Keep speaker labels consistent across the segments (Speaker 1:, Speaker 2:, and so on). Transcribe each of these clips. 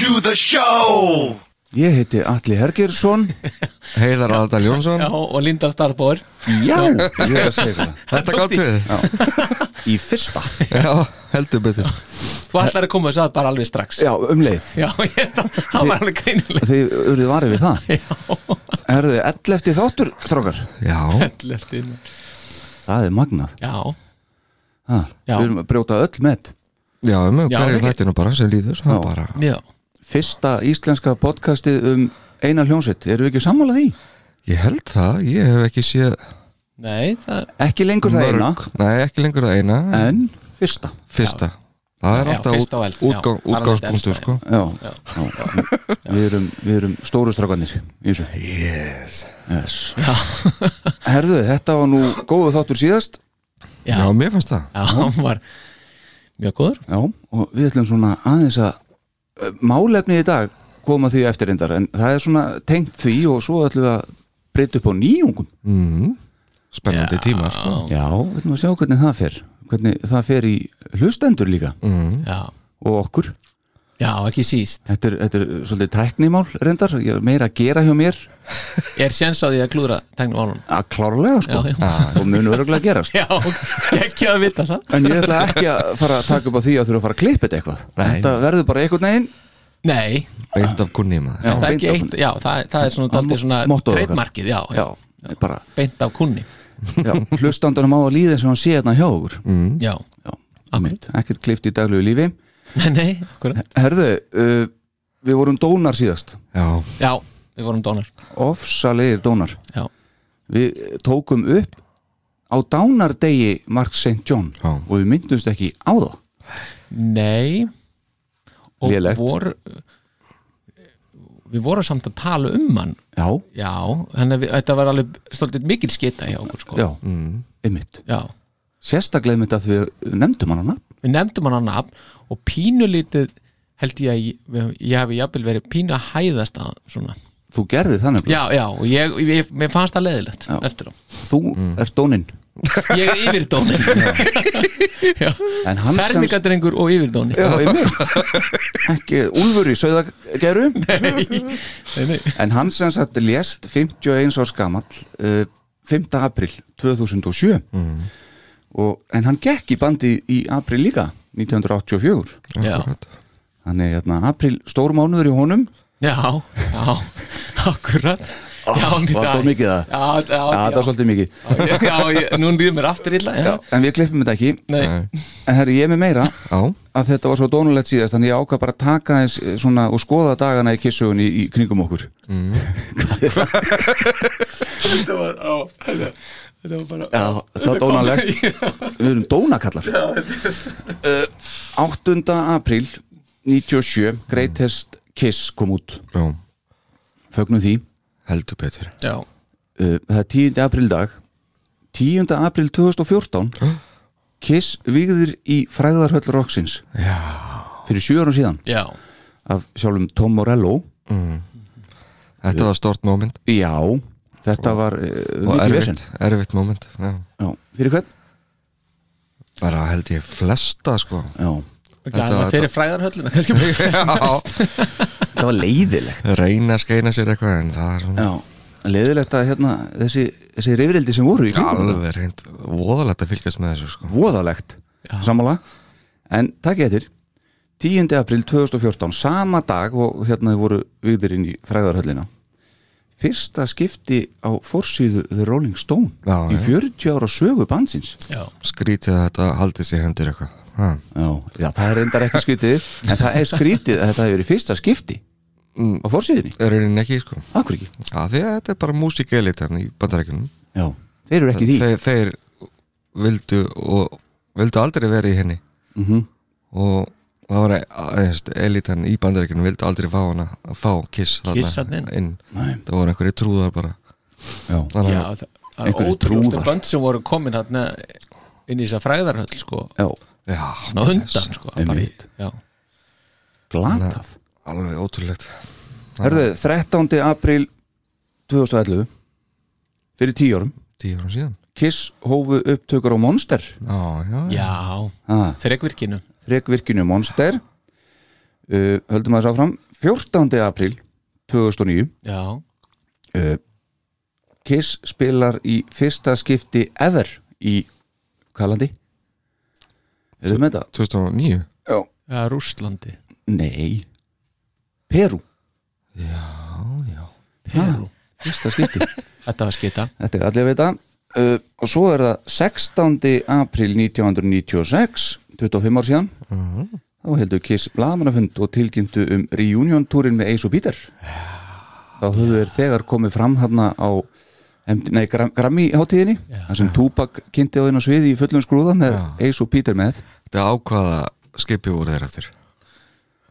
Speaker 1: to the show
Speaker 2: Ég heiti Alli Hergersson
Speaker 3: Heiðar Aðal Jónsson
Speaker 4: Já, og Linda Starbór
Speaker 2: Já, ég er að segja það
Speaker 3: Þetta gátt við
Speaker 2: Í fyrsta
Speaker 3: Já, heldur betur
Speaker 4: Þú ætlar að koma þess að bara alveg strax
Speaker 2: Já, um leið
Speaker 4: Já, ég, það var alveg greinileg
Speaker 2: Þið urðu varið við það Herðu, 11 þáttur, strókar
Speaker 3: Já,
Speaker 2: Það er magnað
Speaker 4: Já,
Speaker 2: ha,
Speaker 4: Já.
Speaker 2: Við erum að brjóta öll með
Speaker 3: já, um
Speaker 4: Já,
Speaker 3: hverju
Speaker 4: ekki.
Speaker 3: þættinu bara sem líður Það
Speaker 2: Já.
Speaker 3: er bara
Speaker 4: já
Speaker 2: Fyrsta íslenska podcastið um eina hljónsett Eru við ekki sammála því?
Speaker 3: Ég held það, ég hef ekki séð
Speaker 4: Nei, það
Speaker 2: Ekki lengur það eina
Speaker 3: mörg Nei, ekki lengur það eina en
Speaker 2: En fyrsta
Speaker 3: Fyrsta Það er
Speaker 4: Já,
Speaker 3: alltaf
Speaker 4: fyrsta og
Speaker 3: út-
Speaker 4: elsta, já.
Speaker 3: útgang-
Speaker 4: Bara þetta
Speaker 3: útgangspunktur
Speaker 4: elsta,
Speaker 3: sko
Speaker 2: Já, já. Við, erum, við erum stóru strákanir í þessu Yes, yes. Herðu, þetta var nú góðu þáttur síðast
Speaker 4: Já,
Speaker 3: Já, mér fannst það
Speaker 4: já, hann var mjög góður
Speaker 2: Já, og við ætlum svona aðeins að eh, málefni í dag koma því eftir reyndar en það er svona tengt því og svo ætlum við að breyta upp á nýjungum
Speaker 3: Spennandi tímar sko.
Speaker 2: Já, við ætlum að sjá hvernig það fer hvernig það fer í hlustendur líka
Speaker 4: Mm. Já,
Speaker 2: og okkur
Speaker 4: já ekki síst
Speaker 2: Þetta er, þetta er svolítið tæknimál reyndar ég er meira að gera hjá mér
Speaker 4: Er séns á því að klúra tæknum álum
Speaker 2: að klárlega sko
Speaker 4: Já, já.
Speaker 2: og mun öruglega gerast
Speaker 4: Já, ekki að vita það
Speaker 2: En ég ætla ekki að fara að taka upp á því að þurfa að fara að klippa þetta eitthvað Þetta verður bara einhvern veginn
Speaker 4: Nei,
Speaker 3: Beint af kunni maður
Speaker 2: Já,
Speaker 4: það er
Speaker 2: beint
Speaker 4: ekki
Speaker 2: af
Speaker 4: eitt Já, það, það er svona daldið svona
Speaker 2: mottóið okkar.
Speaker 4: Treitmarkið, já,
Speaker 2: Já,
Speaker 4: já,
Speaker 2: bara
Speaker 4: beint af kunni
Speaker 2: já, Hlustandunum á að líða eins og hann sé hérna hjá okkur
Speaker 4: Já,
Speaker 2: Já, einmitt, ekkert klift í daglegu lífi
Speaker 4: nei, akkurat
Speaker 2: Herðu, uh, við vorum dónar síðast
Speaker 3: Já,
Speaker 4: Já, við vorum dónar
Speaker 2: Ofsalegir dónar
Speaker 4: Já,
Speaker 2: Við eh, tókum upp á dánardegi Mark St. John
Speaker 3: Já.
Speaker 2: og við myndumst ekki á það
Speaker 4: nei Og
Speaker 2: Lélegt.
Speaker 4: voru Við vorum samt að tala um hann
Speaker 2: Já,
Speaker 4: Já, þannig að við, þetta var alveg stoltið mikil skita hjá okkur sko
Speaker 2: já, einmitt
Speaker 4: Já.
Speaker 2: Sérstaklega einmitt að við nefndum hann hana
Speaker 4: Við nefndum hann að nafn og pínulítið held ég að ég, við- ég hafi jafnvel verið pínu að hæðast að svona
Speaker 2: Þú gerði það nefnilega,
Speaker 4: Já, já, og ég, ég, mér fannst það leðilegt eftir á.
Speaker 2: þú ert dónin
Speaker 4: Ég er yfirdónin
Speaker 2: En hann
Speaker 4: Fermingadrengur og yfirdónin
Speaker 2: Já, einmitt Ekki Úlfur í Söðageru En hann sem sagt lést 51 árs gamall uh, 5. april 2007
Speaker 4: Mm.
Speaker 2: og, En hann gekk í bandi í april líka 1984
Speaker 4: Já,
Speaker 2: Þannig hérna april stórmánuður í honum
Speaker 4: já, já Akkurat Já, mér
Speaker 2: Ah, var það
Speaker 4: dag.
Speaker 2: mikið það?
Speaker 4: Já, já,
Speaker 2: Já, það
Speaker 4: já,
Speaker 2: er svolítið mikið
Speaker 4: já, já, ég- nú líður mér aftur illa Já,
Speaker 2: En við klippum þetta ekki
Speaker 4: nei,
Speaker 2: En herri, ég er með meira
Speaker 3: já,
Speaker 2: að þetta var svo dónulegt síðast Þannig ég ákvað bara að taka eins svona og skoða dagana í kissugun í, í kringum okkur
Speaker 4: þetta var, á, þetta, þetta var bara
Speaker 2: Já, það er dónalegt Við erum dónakallar uh, 8. apríl 97, Greatest Kiss kom út,
Speaker 3: já,
Speaker 2: fögnum því
Speaker 3: heldur betur
Speaker 4: Já,
Speaker 2: uh, Það er 10. apríl dag 10. apríl 2014 Kiss vigður í fræðarhöll Roxins Já. fyrir sjö árum síðan
Speaker 4: já,
Speaker 2: af sjálfum Tom Morello
Speaker 3: Þetta var stort moment
Speaker 2: Já, þetta var uh,
Speaker 3: og
Speaker 2: mikið vesen
Speaker 3: erfitt, erfitt moment já.
Speaker 2: Já, Fyrir hvern?
Speaker 3: Bara held ég flesta sko
Speaker 2: Já,
Speaker 4: já,
Speaker 3: Þetta-
Speaker 4: það fyrir fræðarhölluna kannski bara.
Speaker 3: Já,
Speaker 2: það var leiðilegt
Speaker 3: reyna að skeina sér eitthvað en það er svona
Speaker 2: Já, leðilegt að hérna þessi, þessi rifrildi sem voru í kringum þetta.
Speaker 3: alveg reynd voðalegt að fylgjast með þessu sko
Speaker 2: voðalegt, sammála en takk ég eftir 10. april 2014, sama dag og hérna þau voru viðir inn í fræðarhöllina fyrsta skipti á forsýðu The Rolling Stone
Speaker 3: Já,
Speaker 2: í
Speaker 3: já.
Speaker 2: 40 ára sögu bandsins
Speaker 4: já,
Speaker 3: Skrítið að þetta haldið sér hendur eitthvað ha.
Speaker 2: já, já, það er reyndar ekki skrítið en það er skrítið að þetta hefur verið fyrsta skipti
Speaker 3: Mm.
Speaker 2: á forsýðinni,
Speaker 3: Er reynin ekki, sko
Speaker 2: akkur ekki
Speaker 3: Já, því að þetta er bara músikelitan í bandarækjunum
Speaker 2: já, þeir eru ekki í því
Speaker 3: þeir, þeir vildu og vildu aldrei vera í henni
Speaker 2: Mhm.
Speaker 3: og það var eh, eðst, elitan í bandaríkjunum vildi aldrei fá hana að fá kiss þarna
Speaker 4: Kiss þarna inn.
Speaker 2: Nei.
Speaker 3: það voru einhverju trúðar bara
Speaker 2: já,
Speaker 3: þannig
Speaker 4: já
Speaker 3: að
Speaker 4: það- það er
Speaker 2: Einhverjir
Speaker 4: ótrúlega
Speaker 2: trúðar.
Speaker 4: bönd sem voru komin hann inn í þess að fræðarhöll sko,
Speaker 2: já,
Speaker 3: já,
Speaker 4: á undan sko, bara í,
Speaker 2: Einmitt.
Speaker 4: já,
Speaker 2: glatað
Speaker 3: alveg ótrúlegt
Speaker 2: Herðu, 13. april 2011 fyrir 10 árum
Speaker 3: tíu árum síðan
Speaker 2: Kiss hófu upptökur á Monster
Speaker 3: já, já,
Speaker 4: já
Speaker 2: ah,
Speaker 4: þrekvirkinu,
Speaker 2: þrekvirkinu Monster uh, höldum að þess áfram 14. april 2009
Speaker 4: já,
Speaker 2: uh, Kiss spilar í fyrsta skipti ever í Kalandi Er þið með þetta?
Speaker 3: 2009
Speaker 2: Já.
Speaker 4: já, Rússlandi
Speaker 2: Nei Perú,
Speaker 4: Perú,
Speaker 2: fyrsta skipti
Speaker 4: þetta var skita
Speaker 2: Þetta er allir að veita uh, Og svo er það 16. april 1996 25 ár síðan
Speaker 4: Mhm.
Speaker 2: Þá heldur Kiss blamanafund og tilkynntu um reunion-túrin með Ace og Peter Þá höfðu þeir þegar komið fram hana á MD Nei, Gram Grammy-hátíðinni
Speaker 4: Já.
Speaker 2: þar sem Tupac kynnti á þeirn á sviði í fullum skrúða með Ace og Peter með
Speaker 3: þetta ákvaða skipi voru þeir eftir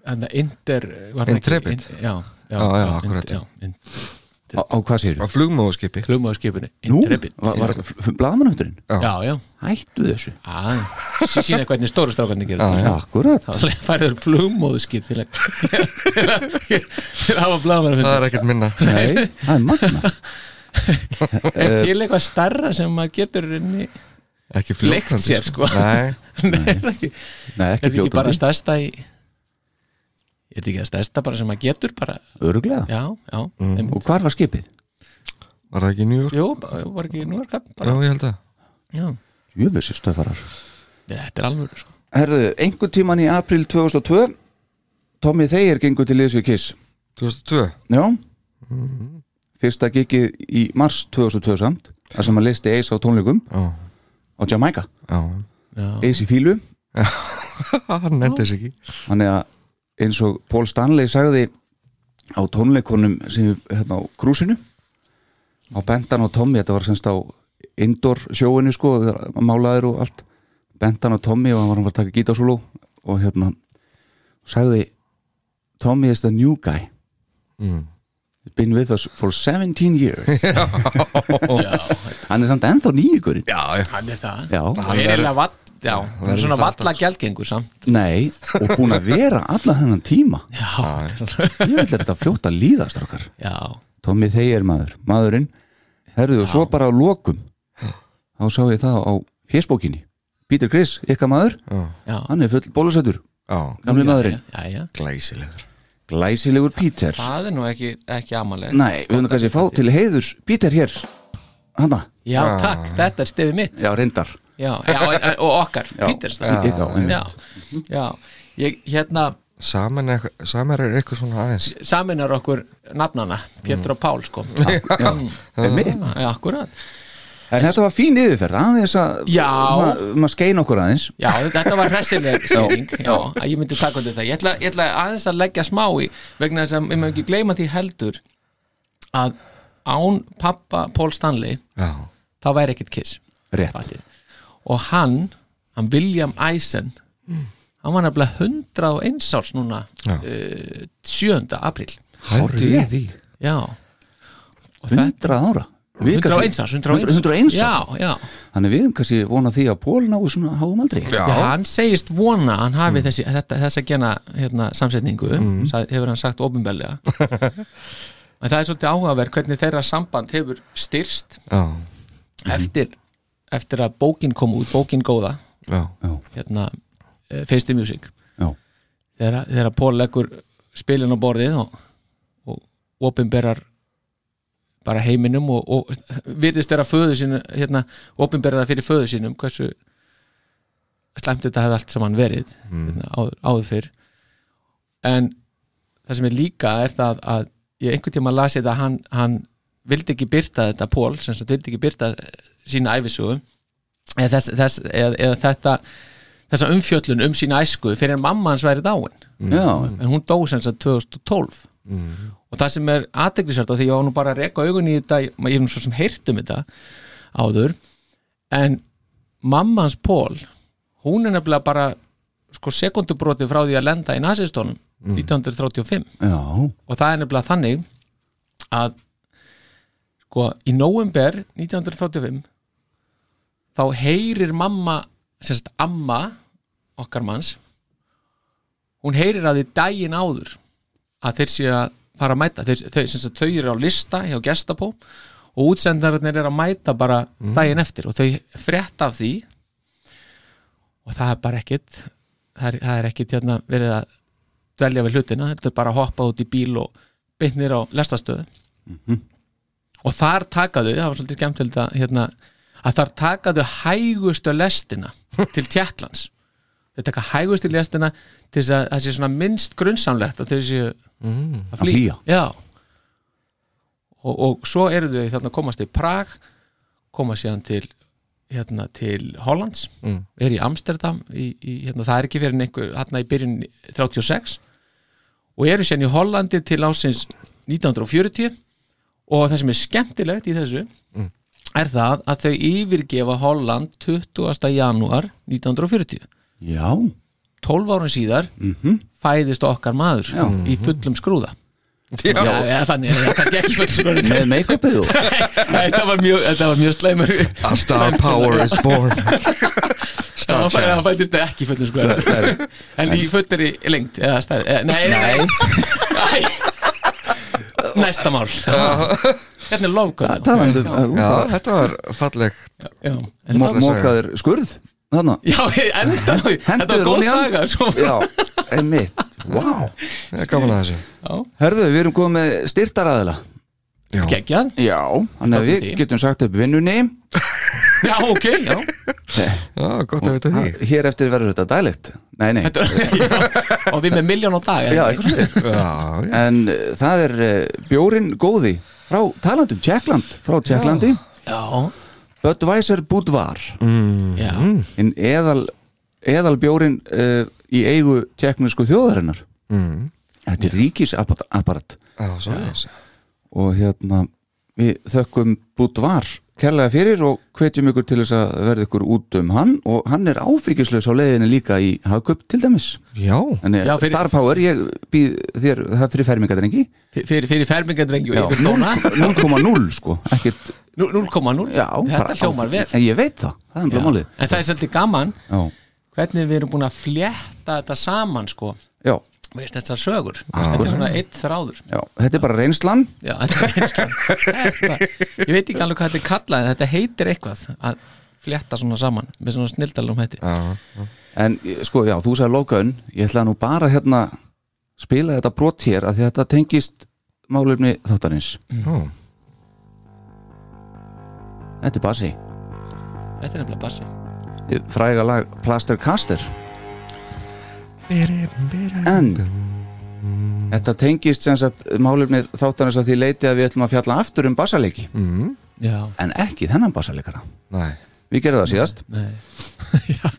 Speaker 4: Þannig að Inter var það ekki-
Speaker 3: Intrepid?
Speaker 4: in, Já, já,
Speaker 3: Já, já,
Speaker 4: Ind-
Speaker 3: akkurat, já.
Speaker 4: in-
Speaker 2: Á, á hvað sér?
Speaker 3: á flugmóðskipi
Speaker 4: Flugmaðurskipinu,
Speaker 2: Nú,
Speaker 4: Intrepid
Speaker 2: var, var blamanafundurinn?
Speaker 3: Já.
Speaker 4: Já, já, Ah,
Speaker 2: Hættu þessu
Speaker 4: já Sýna hvernig stóru strákarnir gerir þetta
Speaker 2: Akkurat
Speaker 4: Þá færður flugmóðurskip til að til að hafa blámar
Speaker 3: það er ekkert minna
Speaker 2: Nei, það er magnað
Speaker 4: Er til eitthvað starra sem maður getur inn í
Speaker 3: ekki fljókandi
Speaker 4: Leigt sér, sko.
Speaker 3: Nei,
Speaker 4: Nei, er það ekki
Speaker 2: Nei, ekki
Speaker 4: Er það ekki bara
Speaker 2: fljótandi,
Speaker 4: stærsta í Er það ekki að stærsta bara sem maður getur bara
Speaker 2: öruglega
Speaker 4: Já, já mm.
Speaker 2: Og hvar var skipið?
Speaker 3: var það ekki í New York?
Speaker 4: Jú, var ekki nú er kapp
Speaker 3: Já,
Speaker 4: bara
Speaker 3: ég held að
Speaker 4: Já,
Speaker 2: Jöfessi stöfarar
Speaker 4: þetta er alveg sko
Speaker 2: Herðu, einhvern tíman í april 2002 Tommy Thayer gengur til liðs við Kiss
Speaker 3: 2002
Speaker 2: Já Fyrsta gigið í mars 2002 samt þar sem hann listi Ace á tónleikum
Speaker 3: Já,
Speaker 2: á Jamaica
Speaker 3: já,
Speaker 4: Já,
Speaker 2: Ace í fílu
Speaker 3: Ah, hann nefndi þess ekki
Speaker 2: Þannig að eins og Paul Stanley sagði á tónleikunum sem við hérna á krúsinu á bentan á Tommy, þetta var semst á indoor sjóinu sko, þegar málaðir og allt bentan á Tommy og hann var hann var að taka gítasúló og hérna sagði Tommy is the new guy
Speaker 3: mm.
Speaker 2: been with us for 17 years
Speaker 4: já,
Speaker 2: hann er samt ennþá nýjugurinn
Speaker 3: Já, ég
Speaker 4: hann er það
Speaker 2: Já,
Speaker 4: og er eiginlega vall, já, hann er
Speaker 3: verður
Speaker 4: svona
Speaker 3: það
Speaker 4: valla gjaldgengur samt
Speaker 2: nei, og búin að vera allan þennan tíma
Speaker 4: já,
Speaker 2: ég vil þetta fljóta líðast okkar
Speaker 4: já,
Speaker 2: Tommy Thayer maður, maðurinn herðu og svo bara á lokum þá sá ég það á fésbókinni Peter Criss, ykkar maður
Speaker 4: já
Speaker 2: hann er full bólusætur,
Speaker 3: Já,
Speaker 2: gamli maðurinn
Speaker 4: já, já,
Speaker 3: glæsilegur
Speaker 2: glæsilegur Peter
Speaker 4: það er nú ekki, ekki amalega
Speaker 2: nei, við höfum kannski að fá til heiðurs Peter hér, hanna
Speaker 4: já, takk, þetta er stefið mitt
Speaker 2: já, reyndar
Speaker 4: já, já, en- en- og okkar,
Speaker 2: Já.
Speaker 4: Píters
Speaker 2: Já, já, einmitt.
Speaker 4: já, já, ég hérna
Speaker 3: Saman er, saman er eitthvað svona aðeins
Speaker 4: saminar okkur nafnana Pétur og Pál, sko
Speaker 2: já, einmitt.
Speaker 4: já, akkurat
Speaker 2: en þetta var fín yfirferð aðeins að
Speaker 4: Já.
Speaker 2: svona, um að skeina okkur aðeins
Speaker 4: Já, þetta var hressileg skýring Já, að ég myndi taka undir það ég ætla, ég ætla aðeins að leggja smá í vegna þess að ég maður ekki gleyma því heldur að án pappa Paul Stanley
Speaker 3: Já,
Speaker 4: þá væri ekkert kiss
Speaker 2: rétt,
Speaker 4: fatið. og hann, hann William Eisen hann var nefnilega 101 árs núna
Speaker 3: Já.
Speaker 4: uh, 7. apríl
Speaker 3: hældu í því
Speaker 4: já og þetta
Speaker 2: 100 ára Við
Speaker 4: 101 árs,
Speaker 2: kannski-
Speaker 4: 101
Speaker 2: 101 árs
Speaker 4: já, já,
Speaker 2: þannig við höfum kannski vonað því að Pól náu svona háum aldrei
Speaker 3: Já,
Speaker 4: Já, hann segist vona að hann hafi þessi, þetta, þessa gena hérna, samsetningu, sag, hefur hann sagt ofinbellega en það er svolítið áhugaverð hvernig þeirra samband hefur styrst
Speaker 3: já,
Speaker 4: eftir, eftir að bókin kom út bókin góða,
Speaker 3: já,
Speaker 4: hérna eh, Face the Music
Speaker 2: Já.
Speaker 4: þegar, þegar Paul leggur spilin á borðið og, og opinberar bara heiminum og, og virðist þeirra föðu sínum hérna, opinberar það fyrir föðu sínum hversu slæmt þetta hefði allt saman verið hérna, áður, áður fyrr en það sem er líka er það að ég einhvern tíma lasi þetta að hann, hann vildi ekki byrta þetta Pól sem sagt vildi ekki byrta sína æfisögu eða, þess, þess, eða, eða þetta þessa umfjöllun um sína æsku fyrir en mamma hans væri dáin
Speaker 2: já,
Speaker 4: en hún dó sem sagt 2012 og það sem er aðteglisvært og því ég var nú bara að reka augun í þetta ég ég er nú svo sem heyrt um þetta áður en mamma hans Pól hún er nefnilega bara sko sekundubroti frá því að lenda í nazistónum 1935
Speaker 2: já,
Speaker 4: og það er nefnilega þannig að sko í november 1935 þá heyrir mamma sem sagt amma okkar manns hún heyrir að því daginn áður að þeir séu að fara að mæta þeir, þau, sem sagt, þau eru á lista hjá gestapó og útsendarnir eru að mæta bara daginn eftir og þau frétta af því og það er bara ekkit það er, það er ekkit hérna verið að dvelja við hlutina, þetta er bara að hoppa út í bíl og byrnir á lestastöðu Mhm. og þar takaðu það var svolítið skemmtilegt að hérna, að þar takaðu hægustu lestina til Tjekklands þau taka hægustu lestina til þess að það sé svona minnst grunnsamlegt að þau séu Mm. að flýja,
Speaker 2: flýja.
Speaker 4: Já. Og, og svo eru þau þarna að komast í Prag koma síðan til hérna til Hollands er í Amsterdam í, í, hérna, það er ekki fyrir en einhver hérna í byrjun 36 og eru sérna í Hollandi til ásins 1940 og það sem er skemmtilegt í þessu er það að þau yfirgefa Holland 20. janúar 1940
Speaker 2: já
Speaker 4: 12 árun síðar fæðist okkar maður í fullum skrúða Já, já þannig, já, kannski ekki í fullum skrúða
Speaker 2: með make-upið og
Speaker 4: Þetta var mjög, þetta var mjög slæmur
Speaker 3: A star power is born
Speaker 4: Það var bara að hann fættist ekki í fullum skrúða En í fullari lengt eða stærð eða- Nei, nei, nei. Næsta mál Hérna er lofgöld
Speaker 2: talandi um að
Speaker 3: Já, þetta var falleg
Speaker 2: þú mókaður skurð þarna,
Speaker 4: Já, enda Þetta var
Speaker 2: Hendur
Speaker 4: góð
Speaker 2: hún í hann?
Speaker 4: saga sko. svo.
Speaker 2: já, einmitt wow.
Speaker 3: Ég er Gaman að þessu
Speaker 2: herðu, við erum komið með styrtaraðila
Speaker 3: Já,
Speaker 4: Geggjað
Speaker 2: já, þannig að
Speaker 4: Fagnar
Speaker 2: við
Speaker 4: því.
Speaker 2: getum sagt upp vinnunni
Speaker 4: Já, ok, já
Speaker 3: já gott að vita því
Speaker 2: hér eftir verður þetta daglegt nei, nei,
Speaker 4: Þetta, já. Og við með miljón á dag
Speaker 2: já, eitthvað svo
Speaker 3: Já, já
Speaker 2: en uh, það er uh, bjórin góði frá talandum Tjekkland frá Tjekklandi
Speaker 4: já,
Speaker 2: Budweiser Budvar
Speaker 4: já.
Speaker 2: en eðal, eðal bjórin uh, í eigu tjekknesku þjóðarinnar þetta er ríkisapparat
Speaker 3: Mm. Já, svo þess
Speaker 2: og hérna við þökkum Budvar kærlega fyrir og hvetjum ykkur til þess að verða ykkur út um hann og hann er áfengislaus á leiðinni líka í hagkup til dæmis
Speaker 3: Já,
Speaker 2: en
Speaker 4: Já,
Speaker 2: Já,
Speaker 4: fyrir-
Speaker 2: Star Power, ég býð þér það fyrir fermingadrengi
Speaker 4: Fyrir, fyrir fermingadrengi og yfir dóna
Speaker 2: 0,0 sko, ekkert
Speaker 4: 0,0
Speaker 2: Já,
Speaker 4: Þetta
Speaker 2: bara
Speaker 4: hljómar vel
Speaker 2: áfengi. En ég veit það, það er
Speaker 4: Já.
Speaker 2: umlega málið
Speaker 4: En það er svolítið gaman
Speaker 2: Já,
Speaker 4: hvernig við erum búin að flétta þetta saman sko,
Speaker 2: já,
Speaker 4: veist þessar sögur þetta er svona eitt þráður
Speaker 2: já, þetta er bara reynslan
Speaker 4: Já, þetta er reynslan. Þetta- ég veit ekki alveg hvað þetta er kallað en þetta heitir eitthvað að flétta svona saman með svona snildalum hætti já,
Speaker 2: En eh, sko, já, þú sagði lokaun Ég ætla nú bara hérna spila þetta brot hér að þetta tengist málefni þáttarins
Speaker 3: já
Speaker 2: Þetta er basi
Speaker 4: þetta er nefnilega bassi
Speaker 2: Fræga lag Plaster Caster En Þetta tengist sem sagt málefni þáttarins að því leiti að við ætlum að fjalla aftur um basaleiki
Speaker 3: Mm.
Speaker 4: já,
Speaker 2: En ekki þennan basaleikara
Speaker 3: Næ,
Speaker 2: Við gerðum það síðast
Speaker 4: nei,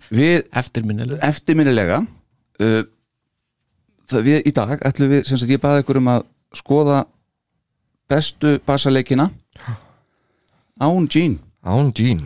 Speaker 2: Við
Speaker 4: eftirminnileg
Speaker 2: eftirminnilega uh, það við í dag ætlum við, sem sagt ég baði ykkur um að skoða bestu basaleikina án Jean
Speaker 3: án dýn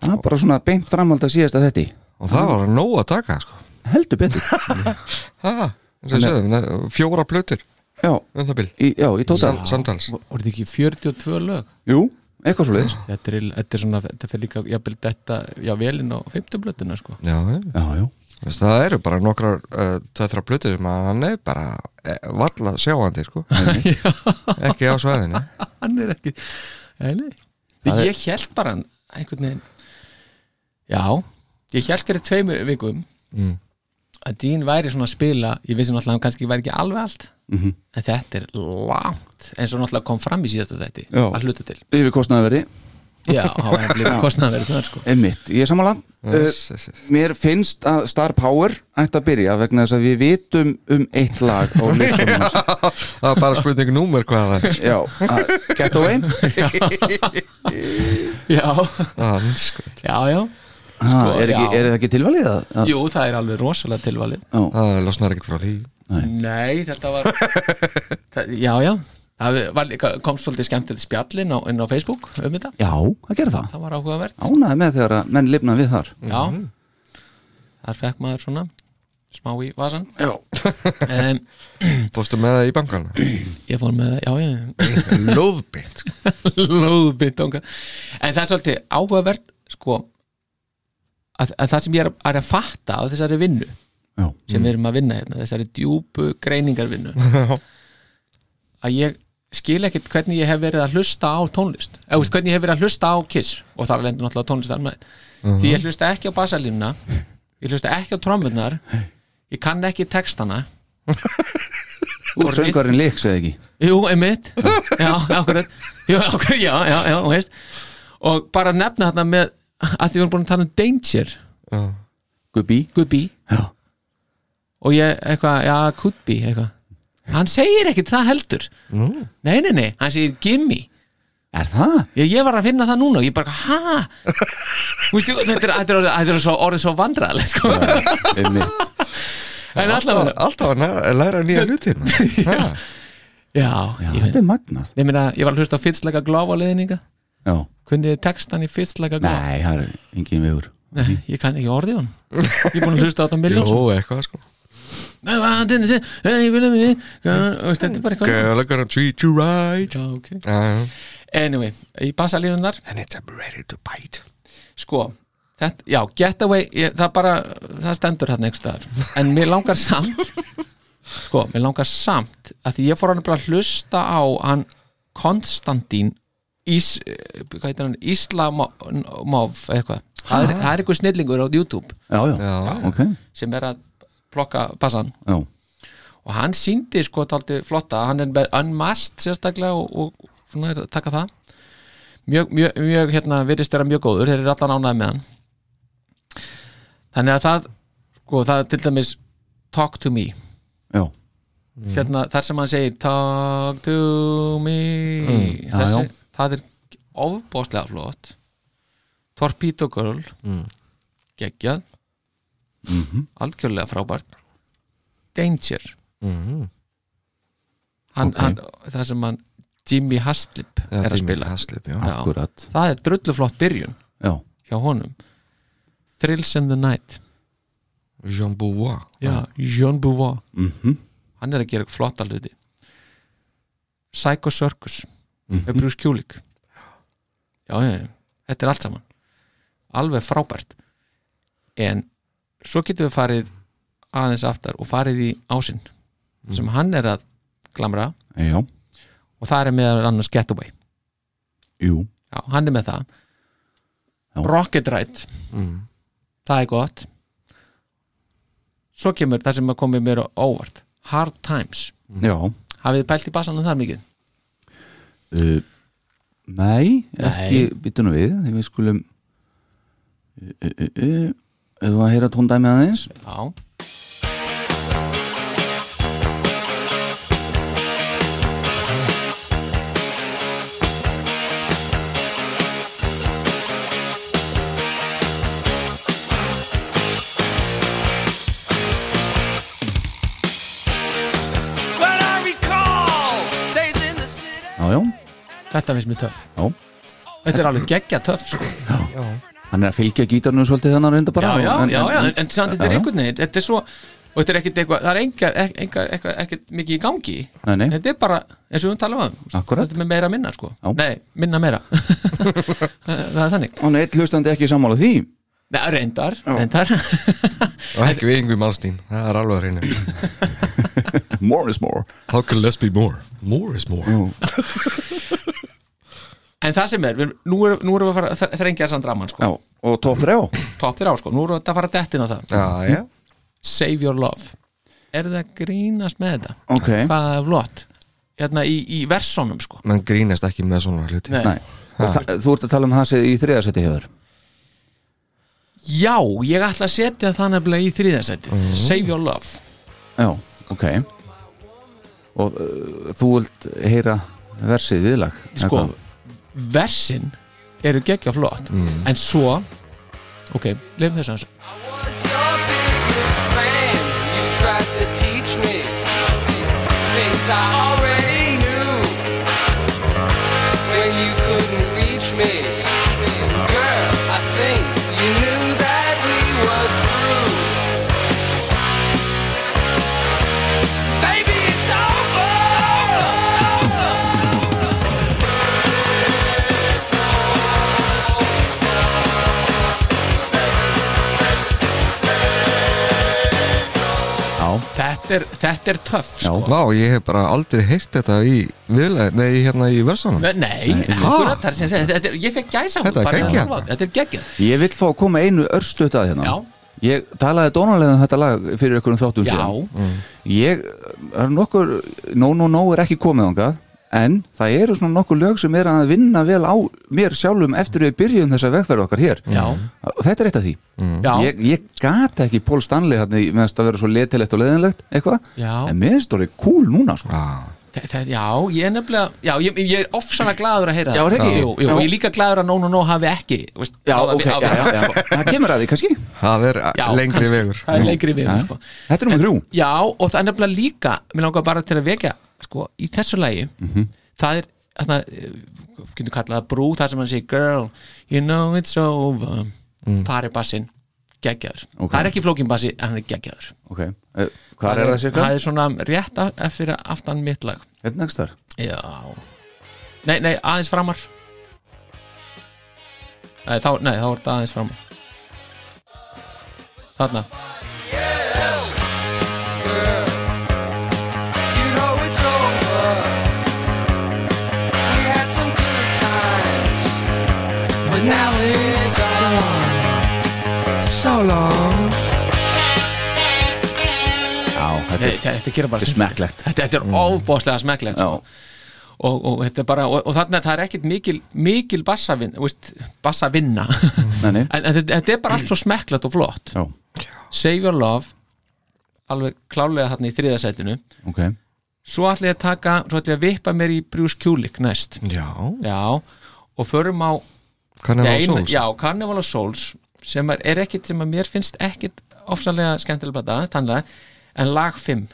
Speaker 2: það er bara svona beint framhald að síðast að þetta
Speaker 3: Og það var nóg að taka, sko
Speaker 2: heldur betur
Speaker 3: Ha, eins og ég segði, na- fjóra plötur
Speaker 2: já,
Speaker 3: um það bil
Speaker 2: í, já, í tótal
Speaker 3: Sam, Samtals
Speaker 4: voru þetta ekki 42 lög
Speaker 2: jú, eitthvað svo leiðis
Speaker 4: þetta er, þetta er svona, þetta fyrir líka jafnvel þetta, já, velinn á 50 blötuna sko.
Speaker 3: Já, já
Speaker 2: já, já,
Speaker 3: Þess, það eru bara nokkrar uh, tveitra plötur sem að hann er bara uh, valla sjáandi sko ekki á svæðinu
Speaker 4: hann er ekki nei, nei. ég er... held bara hann einhvern veginn já, ég held fyrir tveimur vikum
Speaker 3: Mm.
Speaker 4: að Dín væri svona að spila ég vissi náttúrulega að hann kannski væri ekki alveg allt en þetta er langt eins og náttúrulega kom fram í síðasta þætti
Speaker 2: Já.
Speaker 4: að hluta til
Speaker 2: yfir kostnaðverði
Speaker 4: já, það var líka kostnaðverð það sko
Speaker 2: Emmitt, ég er sammála uh,
Speaker 3: Yes, yes, yes.
Speaker 2: Mér finnst að Star Power ætti að byrja vegna þess að við vitum um eitt lag á listunum hans
Speaker 3: Það var bara spurning númer hvað það er
Speaker 2: Já, að Getaway
Speaker 4: já,
Speaker 3: Það er sko
Speaker 4: já, já,
Speaker 2: ha, er, ekki,
Speaker 4: já.
Speaker 2: er það ekki tilvalið að, að
Speaker 4: jú, það er alveg rosalega tilvalið
Speaker 3: Það losnar ekkert frá því
Speaker 4: nei, þetta var það, já, já, það var líka komst svolítið skemmtilegt spjall inn á, inn á Facebook um þetta,
Speaker 2: Já, það gerir það
Speaker 4: það var áhugavert
Speaker 2: Ánæði með þegar að menn lifna við þar
Speaker 4: já, þar fekk maður svona smá í vasan
Speaker 2: Já,
Speaker 4: um,
Speaker 3: Fórstu með það í bankan
Speaker 4: ég fór með, já, já
Speaker 3: Lóðbynd sko.
Speaker 4: lóðbytt en það er svolítið áhugavert sko að, að það sem ég er, að- er að fatta á þessari vinnu
Speaker 2: Já.
Speaker 4: sem við erum að vinna hérna, þessari djúpu greiningarvinnu að ég skil ekkert hvernig ég hef verið að hlusta á tónlist eða þú veist, hvernig ég hef verið að hlusta á Kiss og þar lendur náttúrulega tónlist almennt því ég hlusta ekki á basalínuna ég hlusta ekki á trommunar ég kann ekki textana
Speaker 2: Úr
Speaker 4: Og
Speaker 2: söngvarinn leiks eða ekki
Speaker 4: Jú, einmitt Já, akkurat Jú, akkurat, já, já, já, þú veist Og bara nefna þarna með að því við erum búin að tala um danger
Speaker 2: Gubbi
Speaker 4: Could be
Speaker 2: Já.
Speaker 4: Og ég, eitthvað, já, could be, eitthvað Hann segir ekkit það heldur Nei, nei, nei, hann segir gimme
Speaker 2: Er það?
Speaker 4: Ég, ég var að finna það núna og ég bara, ha? Vistu, þetta er, þetta er, orðið, þetta er svo, orðið svo vandræðalegt sko.
Speaker 2: Einmitt
Speaker 4: En allavega,
Speaker 3: Alltaf að næ- læra nýja hlutir maður. Ha,
Speaker 4: já,
Speaker 2: Já,
Speaker 4: ég,
Speaker 2: þetta er magnað
Speaker 4: ég meina, ég var að hlusta á fyrstleika glóf á leðninga
Speaker 2: Já,
Speaker 4: Kunniði textan í fyrstleika glóf
Speaker 2: nei, það er engin vegur
Speaker 4: Nei, ég kann ekki orðið hann Ég er búin að hlusta á þetta um miljón
Speaker 3: Jó, eitthvað sko
Speaker 4: Þetta er bara eitthvað
Speaker 3: Girl, I'm gonna treat you right
Speaker 4: Já, okay.
Speaker 3: Já, já.
Speaker 4: Anyway, í basalínunar
Speaker 3: And it's I'm ready to bite
Speaker 4: Sko, þetta, já, getaway ég, Það bara, það stendur hérna einhvers staðar En mér langar samt Sko, mér langar samt að Því ég fór hann bara að hlusta á hann Konstantín Ís, eh, hvað heitir hann, Íslamov eitthvað, það er, það er einhver snillingur á YouTube
Speaker 2: Já, já,
Speaker 3: Já.
Speaker 2: ok
Speaker 4: sem er að plokka bassan
Speaker 2: Já,
Speaker 4: og hann síndi sko taldi flotta hann er með unmasked sérstaklega og, og svona er að taka það mjög, mjög, mjög hérna virðist vera mjög góður þeir eru allan ánæði með hann þannig að það sko það er til dæmis talk to me
Speaker 2: já, Mm.
Speaker 4: hérna, þar sem hann segir talk to me
Speaker 2: Mm. já,
Speaker 4: þessi,
Speaker 2: já.
Speaker 4: það er ofbóðslega flott Torpedo Girl mm. geggjað algjörlega frábært Danger
Speaker 3: Mhm.
Speaker 4: hann, hann, það sem hann Jimmy Haslip
Speaker 3: Já,
Speaker 4: er að
Speaker 3: Jimmy
Speaker 4: spila
Speaker 3: Haslip, já.
Speaker 4: Já.
Speaker 2: akkurat
Speaker 4: það er drulluflott byrjun
Speaker 2: Já,
Speaker 4: hjá honum Thrills in the Night
Speaker 3: Jean Beauvoir
Speaker 4: Já, Jean Beauvoir
Speaker 2: mhm,
Speaker 4: hann er að gera flotta hluti Psycho Circus
Speaker 3: Mhm.
Speaker 4: með Bruce Kulik já, já, já, þetta er allt saman alveg frábært en svo getum við farið aðeins aftar og farið í ásinn sem
Speaker 3: Mhm.
Speaker 4: hann er að glamra
Speaker 2: já,
Speaker 4: og það er meðan annars Getaway
Speaker 2: jú
Speaker 4: já, hann er með það
Speaker 2: Já. Mm.
Speaker 4: Rocket Ride það er gott svo kemur það sem að komið mér á óvart Hard Times
Speaker 2: Já,
Speaker 4: hafið þið pælt í bassanum þar mikið
Speaker 2: uh, nei, ekki
Speaker 4: Nei.
Speaker 2: byttunum við, þegar við skulum uh, uh, uh, uh, Ef að heyra tóndæmi aðeins
Speaker 4: já
Speaker 2: Já, já,
Speaker 4: Þetta finnst mér töff
Speaker 2: Já.
Speaker 4: Þetta er alveg geggja töff sko.
Speaker 2: hann er að fylgja gítarnum svolítið þannig reynda bara
Speaker 4: Já, já,
Speaker 2: en,
Speaker 4: já, já, en,
Speaker 2: en,
Speaker 4: en samt
Speaker 2: Já,
Speaker 4: þetta er
Speaker 2: já.
Speaker 4: einhvern veginn Þetta er svo, og þetta er ekkert eitthvað Það er engar, ek- engar, eitthvað, ekkert mikið í gangi
Speaker 2: Nei, nei.
Speaker 4: Þetta er bara, eins og við talaðum um
Speaker 2: Akkúrat.
Speaker 4: Þetta er með meira minna, sko
Speaker 2: Já.
Speaker 4: Nei, minna meira Það er þannig
Speaker 2: Hann er eitt hlustandi ekki sammála því
Speaker 4: Nei, reyndar, reyndar
Speaker 3: Og ekki við yngvi Malstín Það er alveg að reyna
Speaker 2: More is more
Speaker 3: How can less be more? More is more
Speaker 5: Mm.
Speaker 4: En það sem er, við, nú erum nú erum við að fara að þrengja þessan draman,
Speaker 2: Já,
Speaker 4: sko
Speaker 2: og topp þrjá
Speaker 4: Topp þér á, sko, nú erum við að fara að dettin á það
Speaker 3: Já,
Speaker 5: Mm.
Speaker 3: já
Speaker 4: Save your love Er það að grínast með þetta?
Speaker 2: Ok,
Speaker 4: Hvað er flott? Hérna í, í versónum, sko
Speaker 3: Menn grínast ekki með svona hluti
Speaker 2: nei og þa- þú ert að tala um það sem í þriðasetti hefur
Speaker 4: Já, ég ætla að setja það nefnilega í þriðasætið Save Your Love
Speaker 2: Já, ok og uh, þú vilt heyra versið viðlag eða
Speaker 4: Sko,
Speaker 2: hvað?
Speaker 4: versin eru geggja flott En svo Ok, lefum þess aðeins
Speaker 6: was your biggest fan. You tried to teach me things I already knew. When you couldn't reach me, girl, I think you knew that we were through. Baby, it's over.
Speaker 2: Já,
Speaker 4: Þetta er, þetta er töff
Speaker 2: Já.
Speaker 4: sko.
Speaker 3: Vá, ég hef bara aldrei heyrt þetta í viðlega, nei, hérna í versanum
Speaker 4: Nei, nei, akkurat það er sem segja þetta er- Ég fekk gæsa
Speaker 3: Þetta er geggjað.
Speaker 4: Þetta er geggjað
Speaker 2: ég vil fá að koma einu örstuðt að hérna
Speaker 4: Já,
Speaker 2: Ég talaði dónalega um þetta lag fyrir ykkur um þáttum
Speaker 4: já,
Speaker 2: síðan Ég, það er nokkur, no no no er ekki komið þangað En það eru svona nokkur lög sem er að vinna vel á mér sjálfum eftir við byrjum þessa vegferð okkar hér
Speaker 4: já,
Speaker 2: Og Þetta er eitt af því
Speaker 4: já,
Speaker 2: Mm. Ég, ég gata ekki Pól Stanley hérna í- meðan það verður svo letilegt og leðinlegt eitthvað
Speaker 4: Já.
Speaker 2: En meðan það er cool núna sko
Speaker 4: Þa- það- já, ég er nefnilega Já, ég, ég er ofsalega glaður að heyra
Speaker 2: Já, er
Speaker 4: það
Speaker 2: það ekki?
Speaker 4: Jú, jú,
Speaker 2: Já.
Speaker 4: og ég er líka glaður að No No No hafi ekki veist,
Speaker 2: Já,
Speaker 4: náð að
Speaker 2: ok,
Speaker 4: vi-
Speaker 2: já,
Speaker 4: að-
Speaker 2: já, já Það kemur að því kannski
Speaker 3: Það er
Speaker 4: Já,
Speaker 3: lengri
Speaker 4: kannski.
Speaker 3: vegur
Speaker 4: Það er lengri
Speaker 2: Mm. Já.
Speaker 4: vegur, sko
Speaker 2: Þetta er nummer þrjú
Speaker 4: Já, og það er nefnilega líka mér langar bara til að vekja sko, í þessu lagi
Speaker 2: Mhm.
Speaker 4: það er þarna, eh, getur kallað það brú þar sem hann segir girl, you know it's over þar er bassinn geggjaður
Speaker 2: Mm. Ok.
Speaker 4: það er ekki flókin bassi, en hann er geggjaður
Speaker 2: Ok, eh, hvar er það sérka?
Speaker 4: það er svona rétt af, af fyrir aftan mitt lag
Speaker 2: Hérna nægst þar
Speaker 4: já nei, nei, aðeins framar nei, þá, nei, þá er þetta aðeins framar þarna
Speaker 6: You know it's over. We had some good times, but now it's gone.
Speaker 3: So long
Speaker 2: Já, þetta
Speaker 4: Nei,
Speaker 2: er
Speaker 4: þetta gerir bara
Speaker 2: þetta er
Speaker 4: snilld.
Speaker 2: smekklegt.
Speaker 4: Þetta, þetta er ofbóðslega smekklegt
Speaker 2: Já.
Speaker 4: sko. og, og, þetta er bara, og, og þannig að það er ekkit mikil, mikil bassavin, veist, bassavinna
Speaker 2: Nei, nei.
Speaker 4: en, en þetta, þetta er bara allt svo smekklegt og flott
Speaker 2: Já,
Speaker 4: Save Your Love alveg klálega þarna í þriðasætinu
Speaker 2: ok
Speaker 4: svo ætla ég að taka, svo ætla ég að vippa mér í Bruce Kulik næst
Speaker 2: Mm.
Speaker 3: Já,
Speaker 4: Já, og förum á
Speaker 3: kannan á
Speaker 4: Nei,
Speaker 3: sól
Speaker 4: Já, Carnival of Souls sem er, er ekkit sem að mér finnst ekkit ofsalega skemmtilega blata, tannlega en lag 5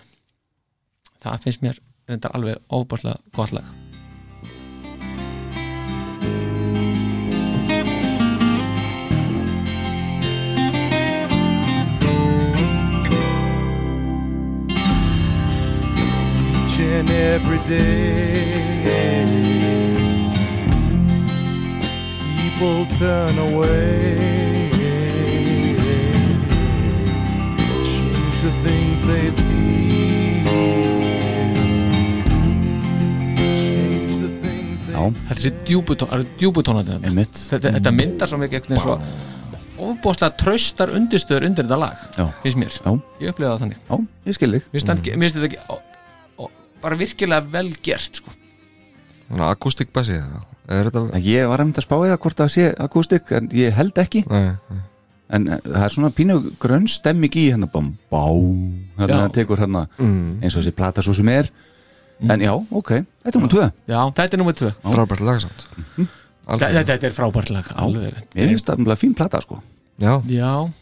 Speaker 4: það finnst mér reyndar alveg ofbáslega gott lag
Speaker 5: each and every day. People turn away, change the things they feel, change the things they
Speaker 2: Já.
Speaker 4: Það er þessi djúbutón, það eru djúbutónatina
Speaker 2: Einmitt
Speaker 4: þetta, þetta myndar svo mikið ekkert eins og ofbáslega traustar undirstöður undir þetta lag
Speaker 2: Já.
Speaker 4: finnst mér,
Speaker 2: Já. Mm.
Speaker 4: ég upplifa það þannig
Speaker 2: Já, ég skil þig
Speaker 4: mér finnst hann- mér finnst þetta ekki ó, ó, bara virkilega vel gert sko.
Speaker 3: Svona akústik bassi eða? Er þetta
Speaker 2: En Ég var að mynda að spá eða hvort það sé akústik en ég held ekki
Speaker 3: Nei,
Speaker 2: en eh, það er svona pínu grönn stemming í hérna bám, bá, hérna
Speaker 4: Já.
Speaker 2: það tekur hérna
Speaker 3: Mm,
Speaker 2: eins og þessi plata svo sem er en já, ok, þetta er um tvö
Speaker 4: Mm. já, þetta er nummer 2
Speaker 3: frábært lagasamt
Speaker 4: Mhm. þetta, þetta er frábært lag alveg.
Speaker 2: ég finnst það mjög fín plata sko
Speaker 3: Já,
Speaker 4: já,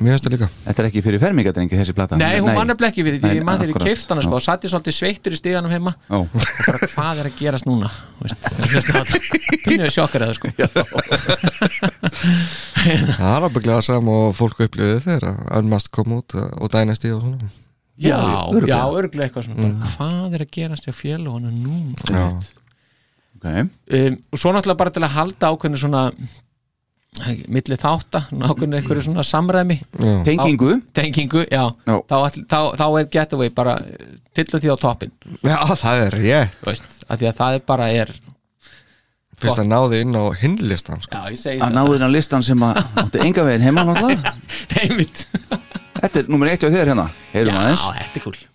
Speaker 3: mér finnst það líka
Speaker 2: þetta er ekki fyrir fermingadrengi þessi plata
Speaker 4: Nei, hún mann er blekki við því,
Speaker 2: hérna. Nei,
Speaker 4: ég mann þegar ég
Speaker 2: akkurat.
Speaker 4: keift hana sko, satt ég svolítið sveittur í stíganum heima
Speaker 2: Já,
Speaker 4: bara hvað er að gerast núna veist, veist það, pínuðu sjokkar eða sko
Speaker 3: Það er ábygglega sam og fólk upplifið þegar að Unmast kom út uh, og Dynasty og svona
Speaker 4: Já,
Speaker 2: örugglega. Mm.
Speaker 4: já, örgulega eitthvað svona bara, hvað er að gerast hjá félagunum núna
Speaker 3: Já,
Speaker 2: ok,
Speaker 4: um, og svo náttúrulega bara til að halda ákveðinu svona milli þátta, svona ákveðinu einhverju svona samræmi
Speaker 3: já,
Speaker 2: tengingu
Speaker 4: tengingu, já,
Speaker 2: Já.
Speaker 4: Þá, all, þá, þá er getaway bara til að því á toppin
Speaker 3: já það er, ég
Speaker 4: veist, af því að það er bara er
Speaker 3: Fyrst að náði inn á hinlistan sko.
Speaker 4: Já, ég segi
Speaker 2: að
Speaker 4: það,
Speaker 2: náðu þennan listan sem að átti enga veginn heima náttúrulega
Speaker 4: heimitt
Speaker 2: Þetta er nummer eitt á þér hérna, heyrum
Speaker 4: Já,
Speaker 2: aðeins
Speaker 4: þetta er cool
Speaker 5: Change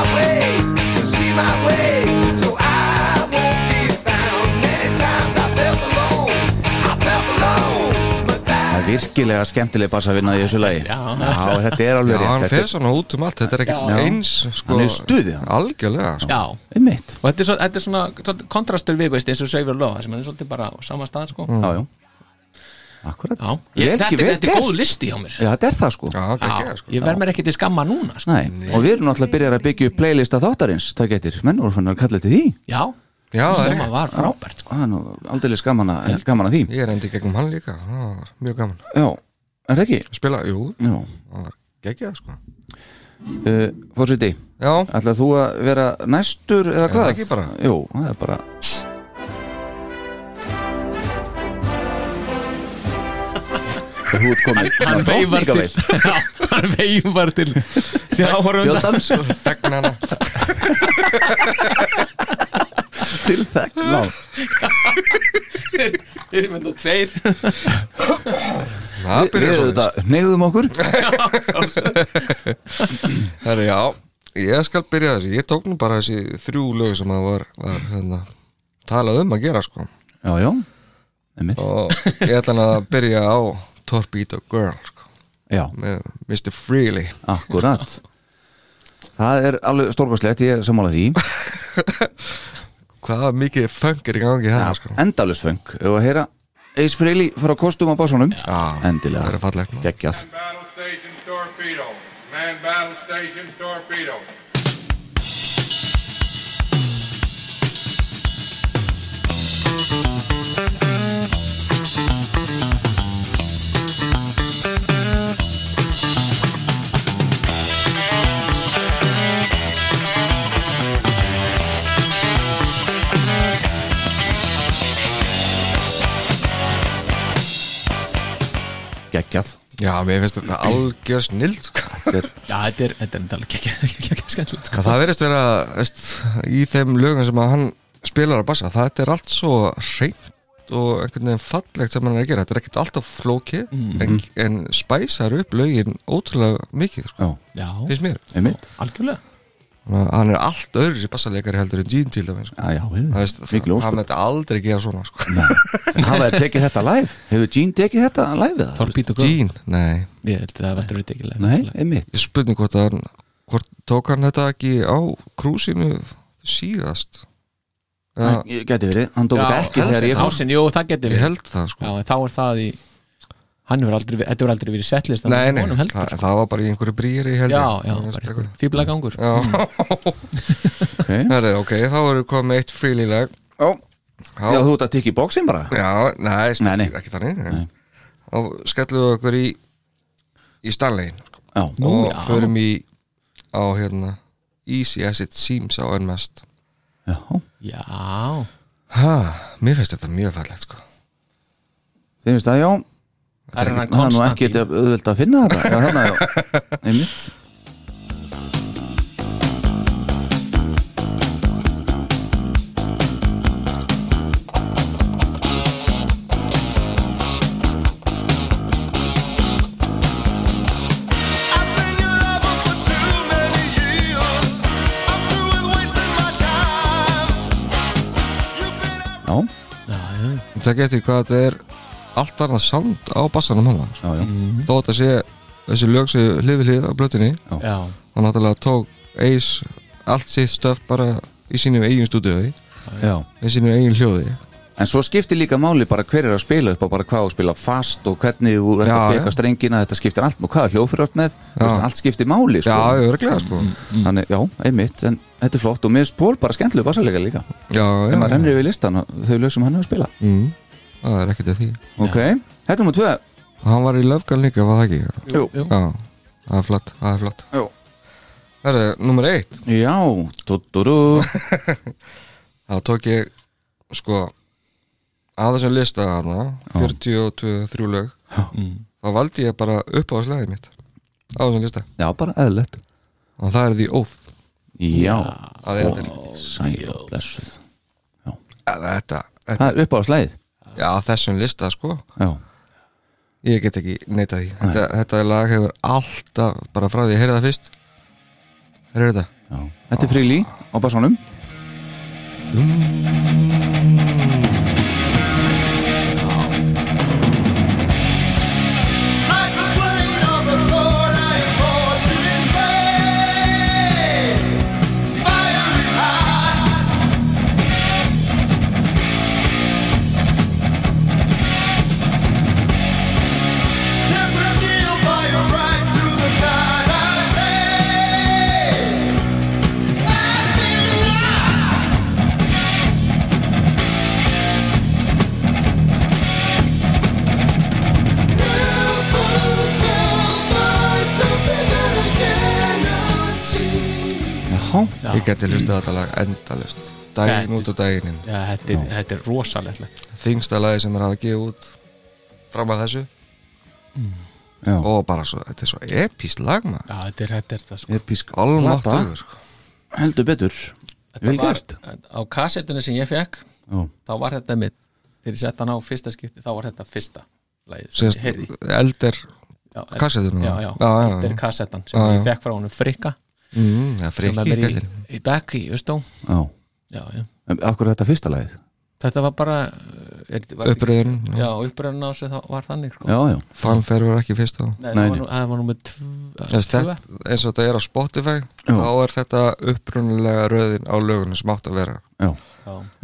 Speaker 6: be my way, so I won't be found. Many times I felt alone, I felt alone, but that
Speaker 2: Það er virkilega skemmtileg bassavinna í þessu lagi Já, þetta er
Speaker 3: Já,
Speaker 2: alveg rétt
Speaker 3: hann
Speaker 2: Þetta
Speaker 3: fer
Speaker 2: er-
Speaker 3: svona út um allt, þetta er ekkert
Speaker 2: Já.
Speaker 3: eins sko,
Speaker 2: Hann er í stuði, hann.
Speaker 3: Algjörlega, sko.
Speaker 4: Já, og
Speaker 2: Einmitt
Speaker 4: þetta er, svo, þetta er svona svolítið kontrastur við, veist, eins og Savior Law sem hann er svolítið bara á sama stað, sko
Speaker 2: Já, já Akkurat
Speaker 4: Já, ég,
Speaker 2: Vel-
Speaker 4: þetta,
Speaker 2: Mm. vel
Speaker 4: þetta er
Speaker 2: gert.
Speaker 4: góð listi hjá mér
Speaker 2: Já, þetta er það sko
Speaker 3: Já,
Speaker 4: Já,
Speaker 3: geggjað, sko.
Speaker 4: ég verð mér ekki til skamma núna, sko
Speaker 2: Nei, og við erum náttúrulega byrjar að byggja upp playlista þáttarins, það getur, menn voru fannar að kalla þetta því
Speaker 4: Já,
Speaker 3: Já, það er
Speaker 4: sem
Speaker 3: rétt.
Speaker 4: að var frábært, sko
Speaker 2: Það er nú aldeilis gaman að, gaman að því
Speaker 3: Ég reyndi í gegnum hann líka, það var mjög gaman
Speaker 2: Já, er það ekki?
Speaker 3: Spila, jú,
Speaker 2: Já
Speaker 3: það var geggjað, sko
Speaker 2: uh, Fórsviti,
Speaker 3: Já,
Speaker 2: ætlar þú að vera næstur eða
Speaker 3: Er
Speaker 2: hvað?
Speaker 3: það ekki bara?
Speaker 2: Jú, það er bara Þú ert komið
Speaker 4: hann veifar til Já, hann veifar til til áhörfunda
Speaker 2: Fjöldans
Speaker 3: þegnana
Speaker 2: til þegna
Speaker 4: þeir eru mynda tveir
Speaker 3: Það
Speaker 2: Við
Speaker 3: byrjar
Speaker 2: erum
Speaker 3: svo
Speaker 2: þetta, neyðum okkur
Speaker 3: Herri, já, ég skal byrja þessi Ég tók nú bara þessi þrjú lög sem að var, var hérna, talað um að gera, sko
Speaker 2: Já, já, einmitt
Speaker 3: Og ég ætla hann að byrja á Torpedo Girl, sko
Speaker 2: Já,
Speaker 3: með Mr. Freely
Speaker 2: akkurat Það er alveg stórkostlegt, ég er sammála því
Speaker 3: Hvað mikið funk er í gangi það, sko
Speaker 2: Endalusfeng, ef að heyra Ace Frehley fara á kostum á básunum
Speaker 3: Já,
Speaker 2: Endilega.
Speaker 3: Það er fallegt maður.
Speaker 2: geggjað
Speaker 7: Battle station torpedo. Man battle station torpedo.
Speaker 2: geggjað
Speaker 3: Já, mér finnst þetta algjör snild sko.
Speaker 4: Já, þetta er þetta er enda alveg ekki ekki ekki skemmtilegt sko.
Speaker 3: Að Það verðist vera veist, í þeim lögum sem að hann spilar að bassa Þetta er allt svo reynt og einhvern veginn fallegt sem hann er að gera Þetta er ekkert alltaf flókið en, en spæsar upp lögin ótrúlega mikið sko,
Speaker 2: Já,
Speaker 4: Já,
Speaker 3: finnst mér
Speaker 2: einmitt
Speaker 4: algjörlega
Speaker 3: Þannig að Hann er allt öðru sér bassaleikari heldur en Gene til dæmis sko.
Speaker 2: Já, já, við
Speaker 3: Það veist,
Speaker 2: Mikil
Speaker 3: Hann
Speaker 2: ósköp
Speaker 3: myndi aldrei gera svona sko.
Speaker 2: En hafa þeir tekið þetta live? Hefur Gene tekið þetta live eða?
Speaker 4: Torpedo Girl
Speaker 3: Gene, nei
Speaker 4: Ég held að það verður rítikilega
Speaker 2: Nei, einmitt
Speaker 3: Ég spurning hvort að hann hvort tók hann þetta ekki á krúsinu síðast Já,
Speaker 2: Ég Gæti verið, hann tók þetta ekki þegar ég fór
Speaker 4: Ásin, jú, það getur
Speaker 3: ég
Speaker 4: við
Speaker 3: held það sko
Speaker 4: Já, en þá er það í Hann hefur aldrei, þetta hefur aldrei verið settlist
Speaker 3: Nei, nei,
Speaker 4: heldur,
Speaker 3: það,
Speaker 4: sko.
Speaker 3: það var bara í einhverju brýri held
Speaker 4: Já,
Speaker 3: ég.
Speaker 4: já,
Speaker 3: Þú veist,
Speaker 4: bara
Speaker 3: einhverju-
Speaker 4: fýblagangur
Speaker 3: Já,
Speaker 2: okay.
Speaker 3: herri, ok, þá erum við komið með eitt frílílag
Speaker 2: Já, þú ert að tikka í bóksin bara
Speaker 3: Já, nei,
Speaker 2: Nei,
Speaker 3: nei,
Speaker 2: nei.
Speaker 3: ekki þannig nei. Og skellum við okkur í í Stanleyin sko.
Speaker 2: Já,
Speaker 3: og
Speaker 4: já.
Speaker 3: förum í á hérna Easy as it seems á enn mest
Speaker 2: já,
Speaker 4: Já,
Speaker 3: Ha, mér finnst þetta mjög fallegt sko
Speaker 2: þeir finnst það, já
Speaker 4: það er hann
Speaker 2: Það er nú ekki
Speaker 4: konstant
Speaker 2: auðvöld að finna þetta Já, þannig að, já, einmitt
Speaker 1: I've been your lover for too many years. I'm through with wasting my time. You've been out
Speaker 2: Já,
Speaker 3: Það getur hvað þetta er allt annað sound á bassanum hann
Speaker 2: já, já,
Speaker 3: Þó þetta sé þessi lög sem hlifi hlið á blötinni
Speaker 4: Já,
Speaker 3: og náttúrulega tók Ace allt sitt stöf bara í sínum eigin stúdíu
Speaker 2: já.
Speaker 3: í sínum eigin hljóði
Speaker 2: En svo skiptir líka máli bara hver er að spila upp og bara hvað að spila fast og hvernig þú ert að
Speaker 3: Já,
Speaker 2: beka
Speaker 3: já.
Speaker 2: strengina, þetta skiptir allt og hvað er hljófur upp með, þú
Speaker 3: Já.
Speaker 2: veist, allt skiptir máli sko. Mm.
Speaker 3: Já, örglega sko
Speaker 2: Þannig, já, einmitt, en þetta er flott og mér spól bara skemmtilega bassalega líka ef
Speaker 3: Já, já,
Speaker 2: maður rennir við listan og þau lög sem hann hefur spila
Speaker 3: mm, það er ekkert að því
Speaker 2: Ok, þetta er nummer tvö
Speaker 3: og Hann var í löfgan líka, var það ekki?
Speaker 2: Jú.
Speaker 4: jú.
Speaker 3: Já, það er flott, það er flott
Speaker 2: Jú.
Speaker 3: Herðu, nummer eitt
Speaker 2: Já, tutturú
Speaker 3: þá tók ég sko að þessum lista hana 42-3 lög þá valdi ég bara upp á slæðið mitt á þessum lista
Speaker 2: Já, bara eðlilegt
Speaker 3: og það er því óf
Speaker 2: Já,
Speaker 3: að þetta,
Speaker 2: sæl, blessuð
Speaker 3: að þetta, þetta
Speaker 2: Það er upp á slæð
Speaker 3: já, þessum lista sko
Speaker 2: Já,
Speaker 3: Ég get ekki neita því þetta, þetta lag hefur alltaf bara frá því að heyra það fyrst Heyrðu þetta
Speaker 2: já Þetta er frílí á bassanum
Speaker 1: Like the blade of a sword, I am born in flames, fiery hot. Tempered steel by your right to the night I pay. I feel lost.
Speaker 2: Jaha,
Speaker 3: Ég geti hlustið á þetta lag endalust Daginn
Speaker 4: Þetta-
Speaker 3: út og daginn inn
Speaker 4: Já, þetta, er, þetta er rosalegt lag.
Speaker 3: Þingsta lagi sem er að gefa út Fram að þessu
Speaker 2: já,
Speaker 3: Og bara svo, þetta er svo epískt lag maður
Speaker 4: Já, þetta er, þetta er það sko
Speaker 2: episk plata.
Speaker 3: Almáttugur
Speaker 2: heldur betur vel
Speaker 4: var-
Speaker 2: gert.
Speaker 4: Á kassettinu sem ég fekk
Speaker 2: Já.
Speaker 4: þá var þetta mitt þegar ég sett hann á fyrsta skipti þá var þetta fyrsta lagið sem ég heyrði.
Speaker 3: Eldir
Speaker 4: Já, en-
Speaker 3: kassetunum
Speaker 4: já, já,
Speaker 3: Ah, já,
Speaker 4: þetta er
Speaker 3: já.
Speaker 4: kassettan sem
Speaker 3: Já, já.
Speaker 4: ég fekk frá honum frikka
Speaker 3: Mm, Það
Speaker 4: sem
Speaker 3: er frikki
Speaker 4: er
Speaker 3: í
Speaker 4: í,
Speaker 3: kallin
Speaker 4: í Beck í Östó
Speaker 2: Já,
Speaker 4: já, já.
Speaker 2: en af hverju er þetta fyrsta lagið?
Speaker 4: þetta var bara uh, er, var,
Speaker 3: Uppröðun,
Speaker 4: já, uppröðun á sig það var þannig sko.
Speaker 2: Já, já,
Speaker 3: fanfare var ekki fyrst á
Speaker 4: Nei,
Speaker 2: Nei,
Speaker 4: það var
Speaker 2: nei.
Speaker 4: nú- það var nú með tv-
Speaker 3: Þess,
Speaker 4: tvö
Speaker 3: þetta, eins og þetta er á Spotify
Speaker 2: Já.
Speaker 3: þá er þetta upprunalega röðin á lögunum sem átt að vera
Speaker 4: já.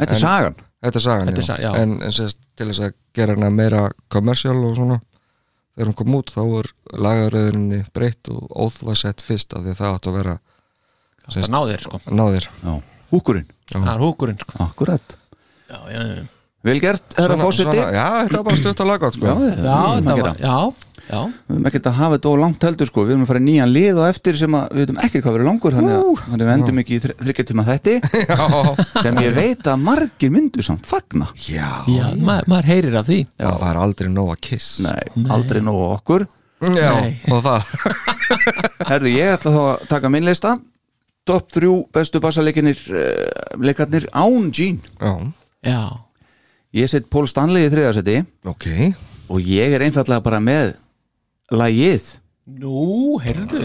Speaker 2: þetta er
Speaker 3: En-
Speaker 2: sagan
Speaker 3: þetta er sagan, hérna.
Speaker 4: Þetta er sa- já.
Speaker 3: en, en sérst, til þess að gera hana meira kommersial og svona þegar hún kom út þá var lagaröðinni breytt og óð var sett fyrst af því að það átt að vera
Speaker 4: það náðir sko.
Speaker 3: náðir
Speaker 2: já. Húkurinn,
Speaker 4: það er húkurinn sko.
Speaker 2: akkurat
Speaker 4: já, já, já.
Speaker 2: Vel gert, herra
Speaker 3: Svona-
Speaker 2: fósiti
Speaker 3: svona- já, þetta var bara stutt að laga
Speaker 2: Já,
Speaker 3: sko.
Speaker 2: já,
Speaker 4: já,
Speaker 2: já,
Speaker 4: það
Speaker 2: já,
Speaker 4: var já, já,
Speaker 2: Við höfum ekkert að hafa þetta of langt heldur sko Við höfum að fara í nýjan lið og eftir sem að við veitum ekki hvað verið langur Þannig að, þannig að við endum ekki í þri- þriggja tíma þetti Sem ég veit að margir myndu samt fagna
Speaker 3: já,
Speaker 4: já maður, maður heyrir af því
Speaker 3: það var aldrei nóg að kiss
Speaker 2: Nei, aldrei nóg á okkur
Speaker 3: já,
Speaker 4: Nei.
Speaker 3: og það
Speaker 2: Herðu, ég ætla þá að taka minn lista Top 3 bestu bassalekinir uh, Leikarnir án Jean
Speaker 3: já,
Speaker 4: já,
Speaker 2: Ég set Paul Stanley í þriðasetti
Speaker 3: ok
Speaker 2: Og ég er einfallega bara með Lagið
Speaker 4: nú, heyrðu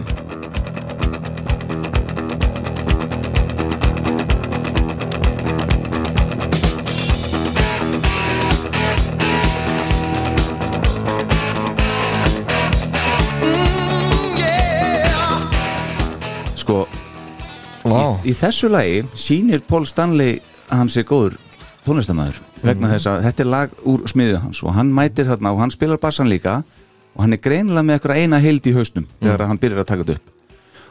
Speaker 2: Sko,
Speaker 3: Vá,
Speaker 2: í þessu lagi sýnir Paul Stanley að hann sé góður tónlistamæður vegna
Speaker 3: Mhm.
Speaker 2: þess að þetta er lag úr smiðu hans og hann mætir þarna og hann spilar bassan líka og hann er greinilega með eitthvað eina heild í
Speaker 3: Mm.
Speaker 2: hausnum þegar hann byrjar að taka þetta upp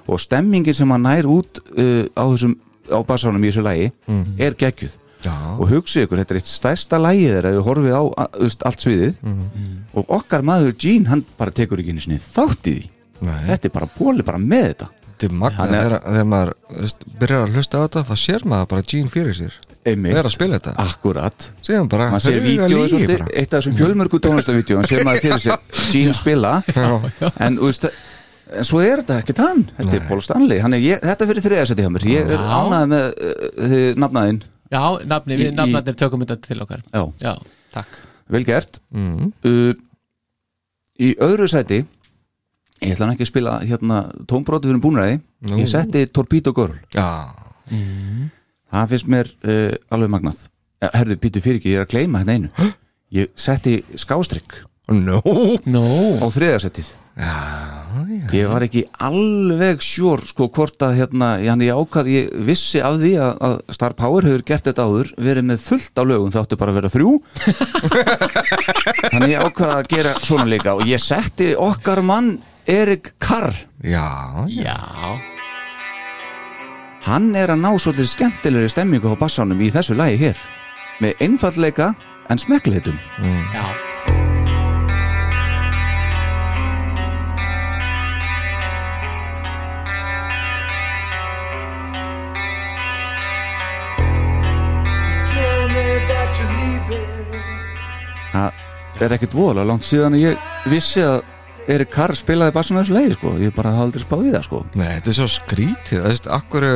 Speaker 2: og stemmingin sem hann nær út uh, á þessum á bassanum í þessu lagi er geggjuð
Speaker 3: Mm. já,
Speaker 2: og hugsið ykkur, þetta er eitt stærsta lagið þeirra ef við horfið á a- þú veist, allt sviðið
Speaker 3: Mm.
Speaker 2: og okkar maður Gene hann bara tekur ekki einu sinni þátt í því
Speaker 3: nei
Speaker 2: þetta er bara, Paul er bara með þetta
Speaker 3: Þetta er magna
Speaker 2: Hann er-
Speaker 3: þegar, þegar maður þú veist, byrjar að hlusta á þetta þá sér maður bara Gene fyrir sér
Speaker 2: Einmitt.
Speaker 3: Vera að spila þetta.
Speaker 2: Akkurat
Speaker 3: Síðan bara
Speaker 2: maður sér
Speaker 3: huga
Speaker 2: vídeo
Speaker 3: lygi
Speaker 2: svolítið,
Speaker 3: bara.
Speaker 2: eitt af þessum fjölmörgu tónlistavídeóum sem maður fyrir sér Gene spila en, þú veist, en svo er þetta ekkert hann þetta er Paul Stanley, hann er, ég, þetta fyrir þriðarsæti hjá mér ég er
Speaker 4: Já.
Speaker 2: ánæði með uh, þið nafnaðinn
Speaker 4: já, nafni, við
Speaker 2: Í- í-
Speaker 4: nafnandir tökum þetta til okkar
Speaker 2: já,
Speaker 4: já, takk
Speaker 2: vel gert
Speaker 3: mm.
Speaker 2: uh, í öðru sæti ég ætla hann ekki að spila hérna tónbróti fyrir búnræði
Speaker 3: Nú.
Speaker 2: ég setti Torpedo Girl
Speaker 3: Já,
Speaker 2: það finnst mér uh, alveg magnað Eh, herðu, pítu fyrir ekki, ég er að gleyma hérna einu ég setti skástrykk
Speaker 3: no
Speaker 4: nú,
Speaker 2: á þriðarsætið ég var ekki alveg sjór sko hvort að hérna hann ég ákvað, ég vissi af því að, að Star Power hefur gert þetta áður verið með fullt á lögum, það áttu bara að vera þrjú þannig ég ákvað að gera svona líka og ég setti okkar mann Erik Carr
Speaker 3: Já, já,
Speaker 4: já
Speaker 2: hann er að ná svolítið skemmtilegri stemmingu á bassanum í þessu lagi hér með einfallleika en smekkleitum
Speaker 4: Já
Speaker 1: Tell me that you're leaving.
Speaker 2: það er ekkert voðalega langt síðan að ég vissi að Erik Carr spilaði bassan á þessu lagi sko, ég bara hafði aldrei spáð í það sko
Speaker 3: nei, þetta er svo skrítið Þú veist, akkur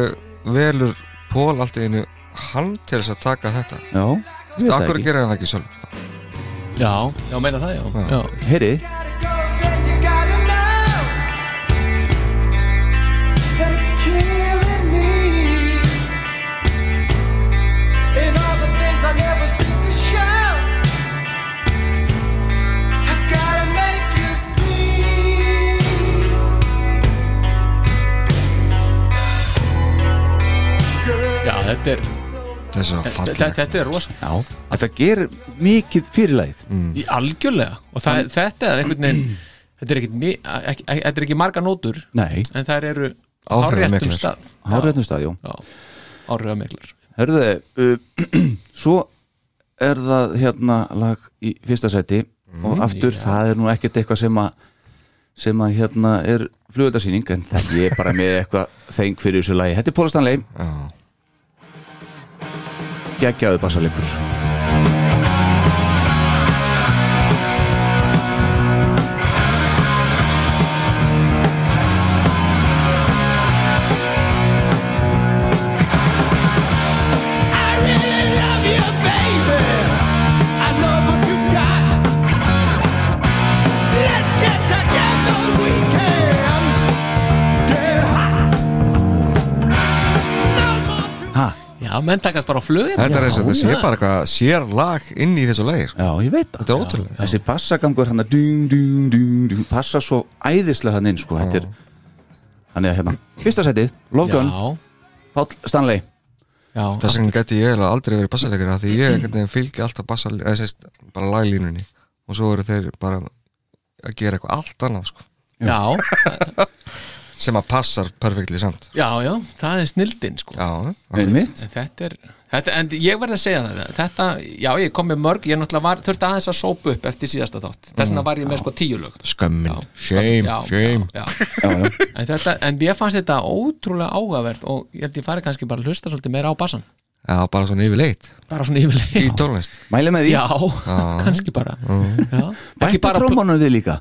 Speaker 3: velur Pól allt í einu hann til þess að taka þetta
Speaker 2: Já, ég veit það
Speaker 3: Akkur
Speaker 2: ekki.
Speaker 3: gerir hann það ekki sjálf
Speaker 4: Já, já, meina það, já, já.
Speaker 2: Heyri,
Speaker 1: Gotta go, then you gotta know that it's killing me.
Speaker 4: Já, þetta er,
Speaker 3: Þessi var
Speaker 4: þetta,
Speaker 3: falleg
Speaker 4: þetta er rosa
Speaker 2: Já. Þetta gerir mikið fyrirlæð
Speaker 4: í algjörlega og það, þetta er einhvern veginn þetta er, ekkit, mi- ekki, ekki, þetta er ekki marga nótur
Speaker 2: Nei,
Speaker 4: en þær eru á
Speaker 3: Áhrifamiklar.
Speaker 4: réttum stað
Speaker 2: hárætnum stadjum
Speaker 4: áriða miklar
Speaker 2: Hörðu, uh, svo er það hérna lag í fyrsta sæti og aftur, það er nú ekkert eitthvað sem að sem að hérna er flugöldarsýning en það ég er bara með eitthvað þeng fyrir þessu lagi. Þetta er Póla Stanley
Speaker 3: Já.
Speaker 2: geggjaðu bassalegur Ha,
Speaker 4: já, menn takast bara á flugin
Speaker 3: Þetta er eins og þetta sé
Speaker 4: já.
Speaker 3: bara eitthvað sér lag inn í þessu lagir
Speaker 2: já, ég veit
Speaker 3: Þetta
Speaker 2: það
Speaker 3: er ótrúlega
Speaker 2: þessi passagangur hann að dung, dung, dung, dung, passa svo æðislega hann inn sko, þetta er hann er hérna, fyrsta sætið, Love Gun
Speaker 4: já,
Speaker 2: Páll Stanley
Speaker 4: já,
Speaker 3: Þess vegna gæti ég eiginlega aldrei verið bassalegur af Því ég einhvern veginn fylgi alltaf bassalegur Eða sést, bara laglínunni Og svo eru þeir bara að gera eitthvað allt annað sko
Speaker 4: já,
Speaker 3: Sem að passar perfektli samt
Speaker 4: já, já, það er snildin sko.
Speaker 3: Já,
Speaker 2: einmitt,
Speaker 4: En þetta er, þetta, en ég verð að segja það þetta, já ég kom með mörg ég náttúrulega var, þurfti aðeins að sópa upp eftir síðasta þátt þess vegna var ég með sko tíu lög
Speaker 3: skömmin
Speaker 4: Já.
Speaker 3: Shame,
Speaker 4: já,
Speaker 3: shame
Speaker 4: já,
Speaker 2: já, já,
Speaker 4: já. En, þetta, en ég fannst þetta ótrúlega áhugavert og ég held ég fari kannski bara að hlusta svolítið meira á bassan
Speaker 3: Já, bara svona yfirleitt
Speaker 4: bara svona yfirlega
Speaker 3: Í tónlist
Speaker 2: mæli með því
Speaker 4: já, kannski bara já.
Speaker 2: bæta
Speaker 4: ekki bara
Speaker 2: trómanum við líka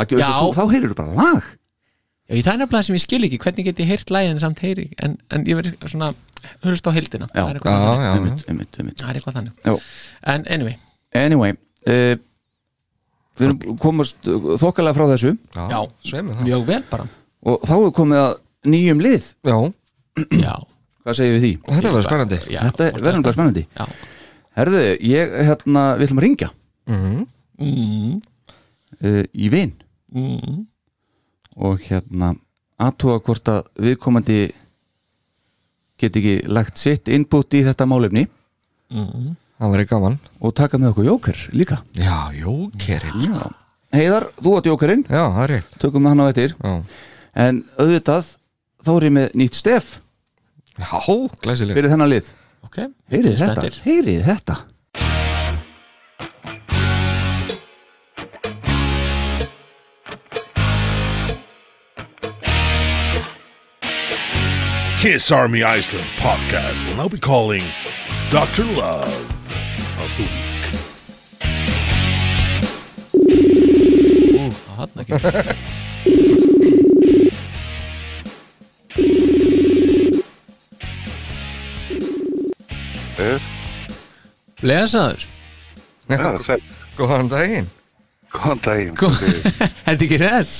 Speaker 2: það,
Speaker 4: Já.
Speaker 2: já. Þú, þá heyrir þú bara lag
Speaker 4: Já, ég- það er nefnilega sem ég skil ekki hvernig get ég heyrt lægin samt heyri en, en ég verð svona hlusta á heildina
Speaker 2: Já.
Speaker 4: það er eitthvað
Speaker 3: Já,
Speaker 4: þannig,
Speaker 3: já, já.
Speaker 2: einmitt, einmitt, einmitt.
Speaker 4: það er eitthvað þannig.
Speaker 2: Já.
Speaker 4: en anyway,
Speaker 2: anyway uh, við erum komast eh, þokkalega frá þessu
Speaker 4: Já.
Speaker 3: Sveimur það
Speaker 4: mjög vel bara
Speaker 2: og þá er komið að nýjum lið
Speaker 3: Já,
Speaker 4: já,
Speaker 2: hvað segir við því?
Speaker 3: þetta verður spennandi
Speaker 4: já,
Speaker 2: þetta
Speaker 4: fólk-
Speaker 2: verður náttúrulega spennandi
Speaker 4: Já.
Speaker 2: herðu, ég, hérna, við ætlum að ringja
Speaker 4: mm,
Speaker 2: uh, í vin
Speaker 4: mm,
Speaker 2: og hérna aðtúa hvort að viðkomandi geti ekki lagt sitt input í þetta málefni
Speaker 3: Það verður gaman
Speaker 2: og taka með okkur jóker líka
Speaker 3: Já, jókerinn
Speaker 2: Já. Heiðar, þú átt jókerinn
Speaker 3: Já, það er rétt
Speaker 2: tökum hann á eftir
Speaker 3: Já,
Speaker 2: en auðvitað þá er ég með nýtt stef
Speaker 3: Já glæsileg
Speaker 2: fyrir þennan lið
Speaker 4: ok,
Speaker 2: heyrið þetta,
Speaker 4: Spenntir.
Speaker 2: heyrið þetta
Speaker 8: Kiss Army Iceland podcast will now be calling Dr. Love of the Week.
Speaker 4: ú, hann ekki
Speaker 9: Eh,
Speaker 4: Lesaður
Speaker 3: Góðan daginn
Speaker 9: Góðan daginn,
Speaker 4: Kom- Þetta ekki þess?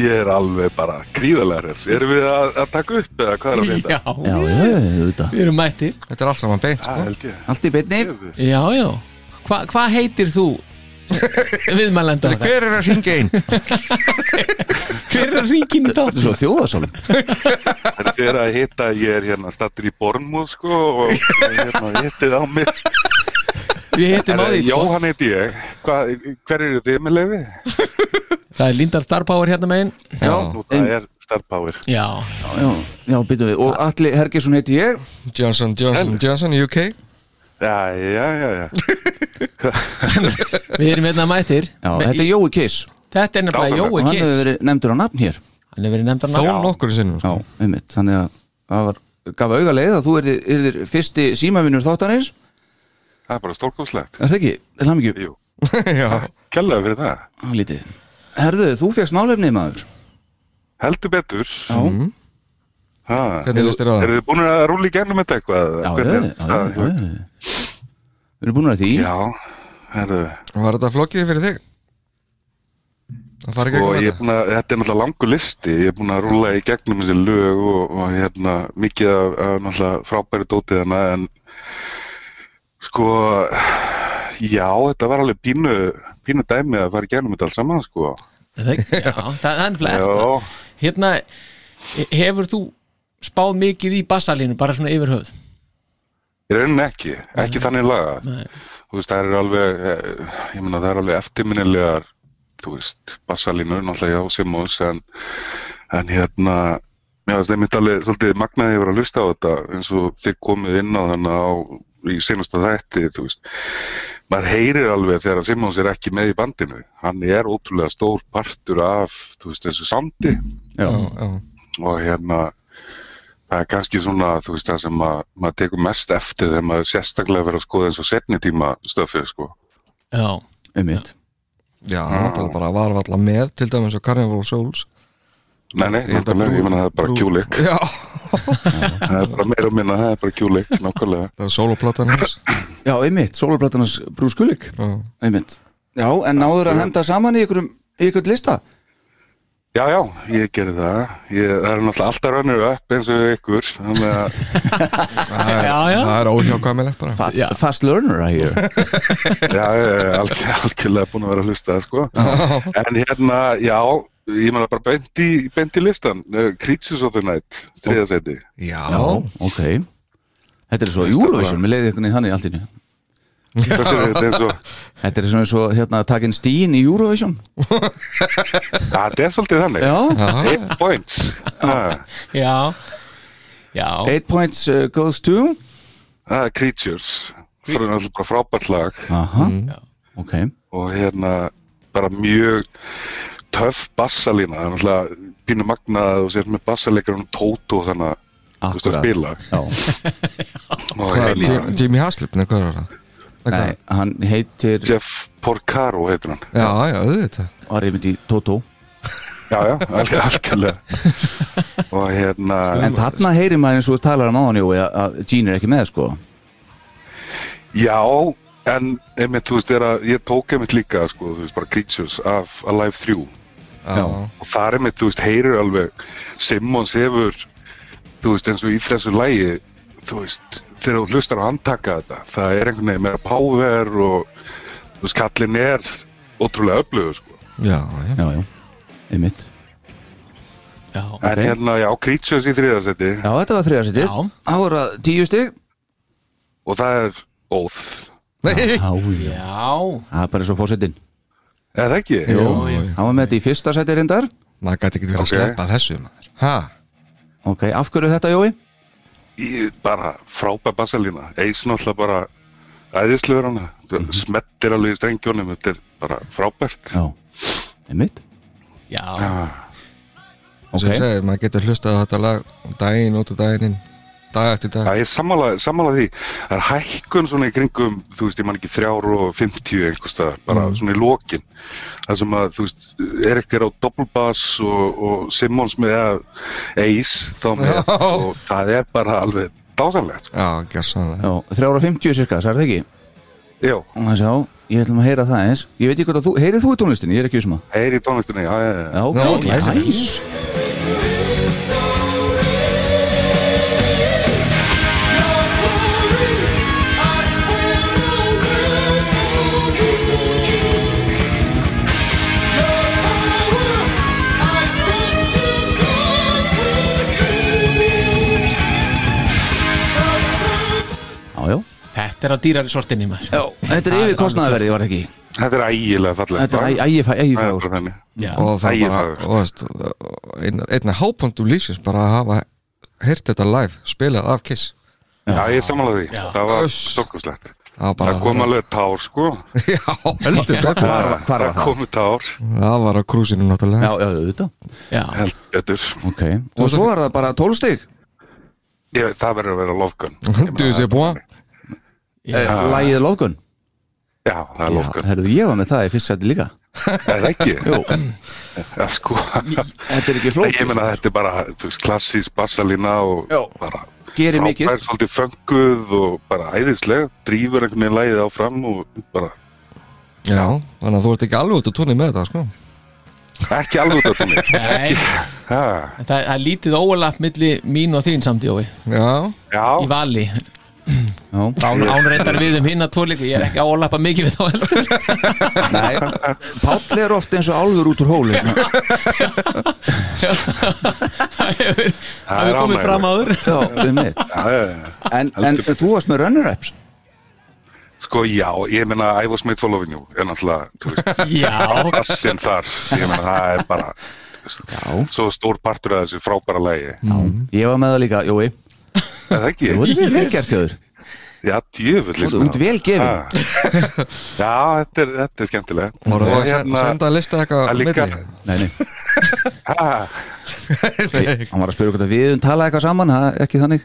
Speaker 9: ég er alveg bara gríðalega hress. Erum við að, að taka upp eða hvað er að reynda?
Speaker 4: Já,
Speaker 2: já, já, auðvitað,
Speaker 4: við erum mættir
Speaker 3: Þetta er allt saman beint
Speaker 9: Það
Speaker 3: sko
Speaker 9: held ég.
Speaker 2: allt í beinni
Speaker 4: Já, já Hva- Hvað heitir þú? Viðmælandi á það
Speaker 3: Hver er að ringa einn?
Speaker 4: Hver er ringin í
Speaker 2: þetta
Speaker 4: þátt?
Speaker 2: er svo þjóðasálum
Speaker 9: Þetta er að hitta, ég er hérna stattur í Bornmúð sko og og hérna hittið á mig.
Speaker 4: Við heitum á
Speaker 9: Herra,
Speaker 4: því sko.
Speaker 9: Jóhann heiti ég. Hva, hver eru þið með leiði?
Speaker 4: Það er Lindar Star Power hérna megin
Speaker 3: Já,
Speaker 9: Nú, það er Star Power.
Speaker 4: Já,
Speaker 2: já, já, býtum við, og Alli Hergesson heiti ég
Speaker 3: Johnson, Johnson, Johnson, UK
Speaker 9: Já, já, já, já.
Speaker 4: við erum hérna mættir
Speaker 2: já,
Speaker 4: Me-
Speaker 2: þetta er Jói Kiss,
Speaker 4: Þetta er nefnilega
Speaker 9: Dásamlegt.
Speaker 4: Jói
Speaker 2: og hann
Speaker 4: Kiss
Speaker 2: hefur verið nefndur á nafn hér
Speaker 4: Hann hefur verið nefndar
Speaker 3: Þó
Speaker 4: nafn
Speaker 3: nokkur sinnum sko.
Speaker 2: já, einmitt, þannig að það var, gaf auga leið að þú erðir, erðir fyrsti símavinur þáttarins
Speaker 9: Það er bara stórkómslegt.
Speaker 2: er það ekki, er það mikið,
Speaker 9: Jú,
Speaker 3: Já,
Speaker 9: kjallaði fyrir það.
Speaker 2: lítið herðu, þú fékkst málefnið maður
Speaker 9: Heldur betur.
Speaker 2: já,
Speaker 9: Ha,
Speaker 3: Hvernig líst þér á það?
Speaker 9: Eru þið búin að rúla í gennum þetta eitthvað?
Speaker 2: já, já, já,
Speaker 9: Hvernig er
Speaker 2: já,
Speaker 9: staðan?
Speaker 2: já, já. við erum búin að því
Speaker 9: Já, herðu.
Speaker 3: var þetta flókið fyrir þig? Það fari ekki
Speaker 9: og
Speaker 3: ekki
Speaker 9: Sko, ég er búin að, þetta er náttúrulega langur listi ég er búin að rúla í gegnum þessi lög og, og hérna, mikið af, af náttúrulega frábæri dótið hana en sko já, þetta var alveg pínu pínu dæmi að fara í gegnum þetta alls saman sko
Speaker 4: Er það ekki? Já, það það er nefnilega eftir
Speaker 9: já,
Speaker 4: Hérna, hefur þú spáð mikið í bassalínu bara svona yfir höfð
Speaker 9: Í rauninni ekki, ekki þannig lagað
Speaker 4: Nei.
Speaker 9: Þú veist, það er alveg eh, ég meina, það er alveg eftirminnilegar þú veist, bassalínur náttúrulega hjá Simmons en, en hérna já, það er mitt alveg svolítið magnaði að vera að hlusta á þetta eins og þið komið inn á þannig á í senasta þætti, þú veist maður heyrir alveg þegar að Simmons er ekki með í bandinu, hann er ótrúlega stór partur af, þú veist, þessu samti
Speaker 2: já,
Speaker 9: og hérna það er kannski svona, þú veist, það sem að maður tekur mest eftir þegar maður sérstaklega verið að skoða eins og setni tíma stöfið, sko.
Speaker 4: Já,
Speaker 2: um mitt
Speaker 3: Já, hann var bara var alltaf með til dæmis á Carnival of Souls
Speaker 9: Nei, nei,
Speaker 3: Ég held að
Speaker 9: nákvæmlega,
Speaker 3: brú-
Speaker 9: ég meina það er bara
Speaker 3: brú-
Speaker 9: kjúlik,
Speaker 3: Já,
Speaker 9: það er bara meira að minna, það er bara kjúlik, nákvæmlega.
Speaker 3: það er soloplatan hans
Speaker 2: Já, einmitt, sólarblattarnas brúskulik
Speaker 3: Já.
Speaker 2: Einmitt Já, en náður að henda saman í ykkurum í ykkurt lista
Speaker 9: Já, já, ég gerði það, ég, það er náttúrulega alltaf rönnur upp eins og ykkur, þannig að
Speaker 4: já, já.
Speaker 3: Það er óhjákvæmilegt bara
Speaker 2: Fast, fast learner að hér
Speaker 9: já, ég er alg- algjörlega búin að vera að hlusta, sko. En hérna, já, ég meina bara beint í, beint í listan, eh, Creatures of the Night, þriðasæti.
Speaker 3: Já,
Speaker 2: Já, ok Þetta er svo Eurovision, mér leiði ykkur niður þannig allt í nýju
Speaker 9: Hvað séu þetta eins og...
Speaker 2: Þetta er svona svo, hérna, takin stíin í Eurovision
Speaker 9: Já, þetta er svolítið þannig.
Speaker 2: Já,
Speaker 9: Eight points. Ah,
Speaker 4: já Já,
Speaker 2: 8 points uh, goes to
Speaker 9: ah, creatures. Ah. Það er náttúrulega bara frábært lag
Speaker 2: Aha, Mm. ok
Speaker 9: og hérna bara mjög töff bassalína. Það er náttúrulega pínu magnað og sér með bassaleikar og Tóto þannig að þú veist að
Speaker 2: Akkurat.
Speaker 9: spila.
Speaker 2: Já,
Speaker 9: Og
Speaker 3: Hvað,
Speaker 9: hérna,
Speaker 3: Jim- Jimmy Haslip, nei, hvað er það? Nei, hvað?
Speaker 2: nei, hann heitir
Speaker 9: Jeff Porcaro heitir hann.
Speaker 3: Já, já, auðvitað
Speaker 2: var einmitt í Toto
Speaker 9: Já, já, alveg algjörlega. Og hérna,
Speaker 2: En þarna heyrir maður eins og þú talar um áðan Jói að- að Gene er ekki með sko
Speaker 9: já, en einmitt, þú veist, er að, ég tók einmitt líka, sko, þú veist, bara Creatures af Alive 3.
Speaker 2: Já,
Speaker 9: og þar er mitt, þú veist, heyrir alveg Simmons hefur þú veist, eins og í þessu lægi þú veist, þegar þú hlustar á handtaka þetta það er einhvern veginn meira power og þú veist, kallin er ótrúlega öflugur, sko
Speaker 3: Já, já,
Speaker 2: já, já, einmitt
Speaker 4: já,
Speaker 9: en hérna, já, Creatures í þriðarsæti
Speaker 2: Já, þetta var þriðarsætið
Speaker 4: Já.
Speaker 2: Ára tíu stig
Speaker 9: og það er óð
Speaker 2: Já, já
Speaker 4: já
Speaker 2: Það er bara svo fórsetin
Speaker 9: eða það ekki?
Speaker 3: Jó,
Speaker 4: já.
Speaker 2: Hann var með þetta í fyrsta sæti reyndar
Speaker 3: maður gæti ekki verið að
Speaker 9: Ok.
Speaker 3: sleppa þessu maður Hæ?
Speaker 2: Ok, af hverju þetta Jói?
Speaker 9: Í, bara frábæð bassalína eins náttúrulega bara æðislegur hana smettir alveg í strengjónum þetta er bara frábært
Speaker 2: Já, einmitt
Speaker 4: Já,
Speaker 3: Sem ég segi, maður getur hlustað á þetta lag daginn út og daginn inn, dag eftir dag
Speaker 9: Já, ég sammála, sammála því. Það er hækkun svona í kringum, þú veist, ég man ekki þrjár og 50 einhvers staðar, bara svona í lokin. Það sem að, þú veist, Erik er á doppelbass og, og Simmons með eða Ace þá með
Speaker 3: Já.
Speaker 9: og það er bara alveg sko. dásanlegt.
Speaker 3: Já, gjörsanlega
Speaker 2: Já, 350 cirka, sagði það ekki?
Speaker 9: Jó,
Speaker 2: Það sjá, ég ætlum að heyra það eins Ég veit ekki hvort að þú, heyrið þú í tónlistinni, ég er ekki vissum að
Speaker 9: heyri í tónlistinni, já, já, já.
Speaker 2: Já, ok,
Speaker 3: Nó, glæsilegt.
Speaker 2: næs Já, já
Speaker 4: þetta er að dýrar sortinni maður
Speaker 2: Já, þetta er
Speaker 4: Það er
Speaker 2: yfir kostnaðverði, var það ekki?
Speaker 9: Þetta er ægilega fallega.
Speaker 2: Þetta er ægifæður
Speaker 9: bara þannig.
Speaker 4: Já,
Speaker 3: og það
Speaker 9: Ægir
Speaker 3: bara,
Speaker 9: fagur.
Speaker 3: og veist einn- einn af hápunktum lífsins bara að hafa heyrt þetta live, spilað af Kiss
Speaker 9: Já, ég sammála því.
Speaker 4: Já.
Speaker 9: Það var
Speaker 3: Uss.
Speaker 9: stokkuslegt.
Speaker 3: það var bara
Speaker 9: Það kom alveg tár, sko.
Speaker 3: já, heldur þetta
Speaker 2: Hvar var hvar var
Speaker 9: Það
Speaker 2: það?
Speaker 9: komu tár,
Speaker 3: það var á krúsinu
Speaker 2: Já,
Speaker 3: náttúrulega
Speaker 2: já, þetta
Speaker 4: já,
Speaker 9: held betur.
Speaker 2: Ok, og svo er það bara 12 stig
Speaker 9: Ég, það verður að vera lofgun.
Speaker 3: duðu sér búa
Speaker 9: Ah.
Speaker 2: Lægið Lofgun
Speaker 9: Já, það er
Speaker 2: Eh, Já,
Speaker 9: lofgun.
Speaker 2: herðu, ég var með það í fyrst sæti líka
Speaker 9: Er það ekki? Jú. Ja, sko,
Speaker 2: Þetta er ekki
Speaker 9: Nei, ég
Speaker 2: flókið
Speaker 9: meina þetta er bara þú veist, klassís bassalína og
Speaker 2: Já.
Speaker 9: bara
Speaker 2: Gerir mikið.
Speaker 9: frábær, svolítið fönguð og bara æðislega, drýfur einhvern veginn lægið áfram og bara
Speaker 3: já, þannig að þú ert ekki alveg út á tónni með þetta sko
Speaker 9: ekki alveg út af tónni.
Speaker 4: nei
Speaker 9: Ha,
Speaker 4: en Það það er lítið óalaf milli mín og þín samt Jói
Speaker 3: já,
Speaker 9: Já,
Speaker 4: í vali Án, án reyndar við um hinna tvo líka Ég er ekki á að lappa mikið við þá heldur
Speaker 2: Nei, Páll er ofta eins og álfur út úr hóli
Speaker 4: Það er komið fram áður
Speaker 2: Já, um mitt En, en þú varst með runner-ups
Speaker 9: Sko já, ég meina I was made for loving you er náttúrulega, þú veist,
Speaker 4: Já,
Speaker 9: bassin þar ég meina það er bara þú veist, svo stór partur af þessu frábæra lægi
Speaker 2: Mm. Ég var með það líka, Jói
Speaker 9: Er það ekki?
Speaker 2: Þú voru vel velgert hjá þér
Speaker 9: Já, djöfull sko. Ah.
Speaker 2: Þú ert vel gefin.
Speaker 9: Já, þetta er, þetta er skemmtilegt
Speaker 3: Voru
Speaker 9: Og hérna
Speaker 3: að sen- senda að lista eitthvað
Speaker 9: að
Speaker 3: á
Speaker 9: líka-
Speaker 3: milli?
Speaker 2: Nei, nei,
Speaker 9: ha,
Speaker 2: ég- hann var að spyrja hvort að við um talaði eitthvað saman, það er ekki þannig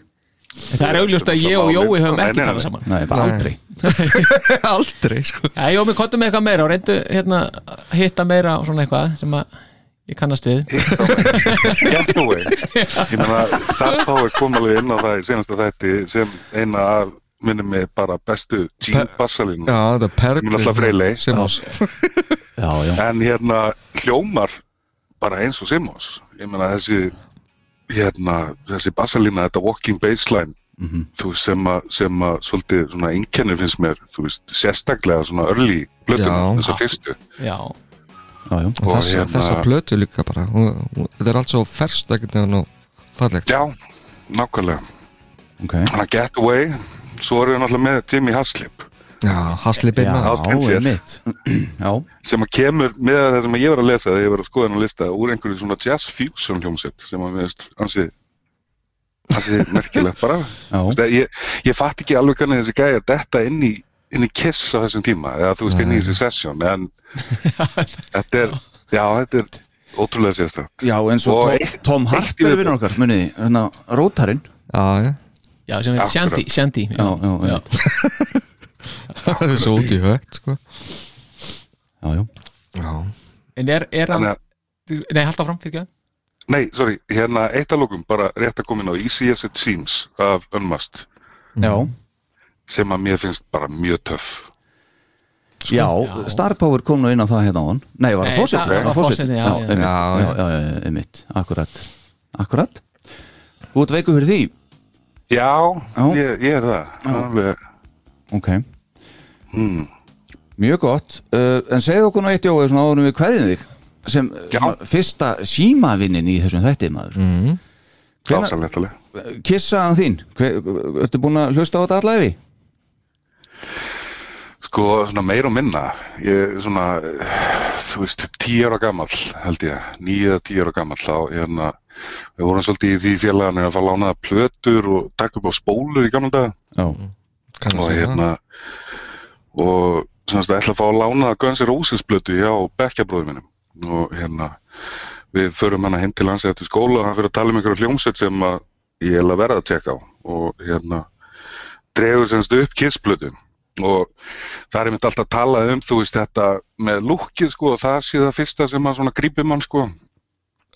Speaker 4: það er augljóst að ég og Jói höfum ekki talað saman
Speaker 2: Nei, bara aldrei
Speaker 3: Aldrei sko
Speaker 4: Já, Jói, kottum með eitthvað meira og reyndu hérna að hitta meira og svona eitthvað sem að ég kannast við
Speaker 9: hitt á mig. Get away Ég meina, Star Power kom alveg inn á það í senasta þætti sem eina af minnum mig bara bestu Gene Bassalínu
Speaker 3: Já, þetta er
Speaker 9: Ég mun alltaf Freyleif.
Speaker 3: perli Simons
Speaker 2: Já, já,
Speaker 9: en hérna hljómar bara eins og Simmons ég meina þessi hérna, þessi bassalína, þetta walking baseline þú veist, sem að sem að svolítið svona einkennir finnst mér þú veist, sérstaklega svona early
Speaker 3: Já.
Speaker 9: blöðum, þessar fyrstu
Speaker 4: Já,
Speaker 2: já, já
Speaker 9: Og
Speaker 3: Þessa,
Speaker 9: hérna-
Speaker 3: þessa plötu líka bara hún- hún- Þetta er allt svo ferskt ekkert nefn og fallegt
Speaker 9: já, nákvæmlega
Speaker 2: okay.
Speaker 9: hann að get away, svo erum við náttúrulega með Jimmy Haslip
Speaker 3: Já, hasli beina
Speaker 9: á
Speaker 2: Já,
Speaker 9: tindir.
Speaker 2: um mitt Já,
Speaker 9: sem að kemur með það sem ég var að lesa þegar ég var að skoða hann að lista úr einhverju svona jazz fusion hljómsett sem að veist ansi ansi merkilegt bara
Speaker 2: Já.
Speaker 9: Þú veist, ég, ég fatt ekki alveg hvernig þessi gæja detta inn í, inn í kiss á þessum tíma eða þú veist inn í þessi session en þetta er já þetta er ótrúlega sérstætt
Speaker 2: já eins og,
Speaker 9: Og
Speaker 2: og
Speaker 9: eitt-
Speaker 2: Tom
Speaker 9: eitt í
Speaker 2: Harper
Speaker 9: viðbót.
Speaker 2: vinnur okkar, muniði, hérna, rótarinn
Speaker 3: Já, já
Speaker 4: já sem við Shandy, Shandy
Speaker 2: Já, já, já.
Speaker 3: Það er svo út í hött sko
Speaker 2: Já, já,
Speaker 3: Já
Speaker 4: En er, er hann,
Speaker 9: þannig að
Speaker 4: nei, halda fram fyrir ekki
Speaker 9: eh, Nei, sorry, hérna eitt að lókum, bara rétt að koma inn á Easy As It Seems af Unmust
Speaker 2: já,
Speaker 9: sem að mér finnst bara mjög töff
Speaker 2: já, Star Power kom nú inn á það hérna á hann Nei, var
Speaker 4: Sko, Nei,
Speaker 2: það fósitt?
Speaker 4: það var forseti, já, já.
Speaker 2: einmitt,
Speaker 3: Já,
Speaker 2: já, já, já, einmitt, akkurat Akkurat Þú ert veikur fyrir því,
Speaker 9: Já,
Speaker 2: Já.
Speaker 9: Ég, ég er það Alveg,
Speaker 2: ok
Speaker 3: Hmm.
Speaker 2: Mjög gott, uh, en segðu okkur nú eitt jóið svona áðurum við kveðin þig sem uh,
Speaker 9: Já.
Speaker 2: svona, fyrsta símavinnin í þessum þætti maður
Speaker 3: Hmm.
Speaker 2: mm. Hvenær-
Speaker 9: dásamlegt alveg
Speaker 2: Kissaðan þín, Hver, ertu búin að hlusta á þetta allavegi?
Speaker 9: Sko, svona meir og minna. Ég er svona, eh, þú veist, tíu ára gamall, held ég, níu eða tíu ára gamall, þá, hérna, við vorum svolítið í því félaginu að fá lánaða plötur og taka upp á spólur í gamla daga
Speaker 2: Já,
Speaker 9: og hérna, og svona, svona, ætla að fá að lánaða Guns N' Roses plötu hjá bekkjabróðum minnum og hérna, við förum hana heim til hans eftir skóla og hann fyrir að tala um einhverja hljómsveit sem að ég hef að verða að tjekka á og hérna, dregur semst upp kissplötu og það er einmitt alltaf að tala um þú veist þetta með lúkið sko og það sé það fyrsta sem að svona grípir mann sko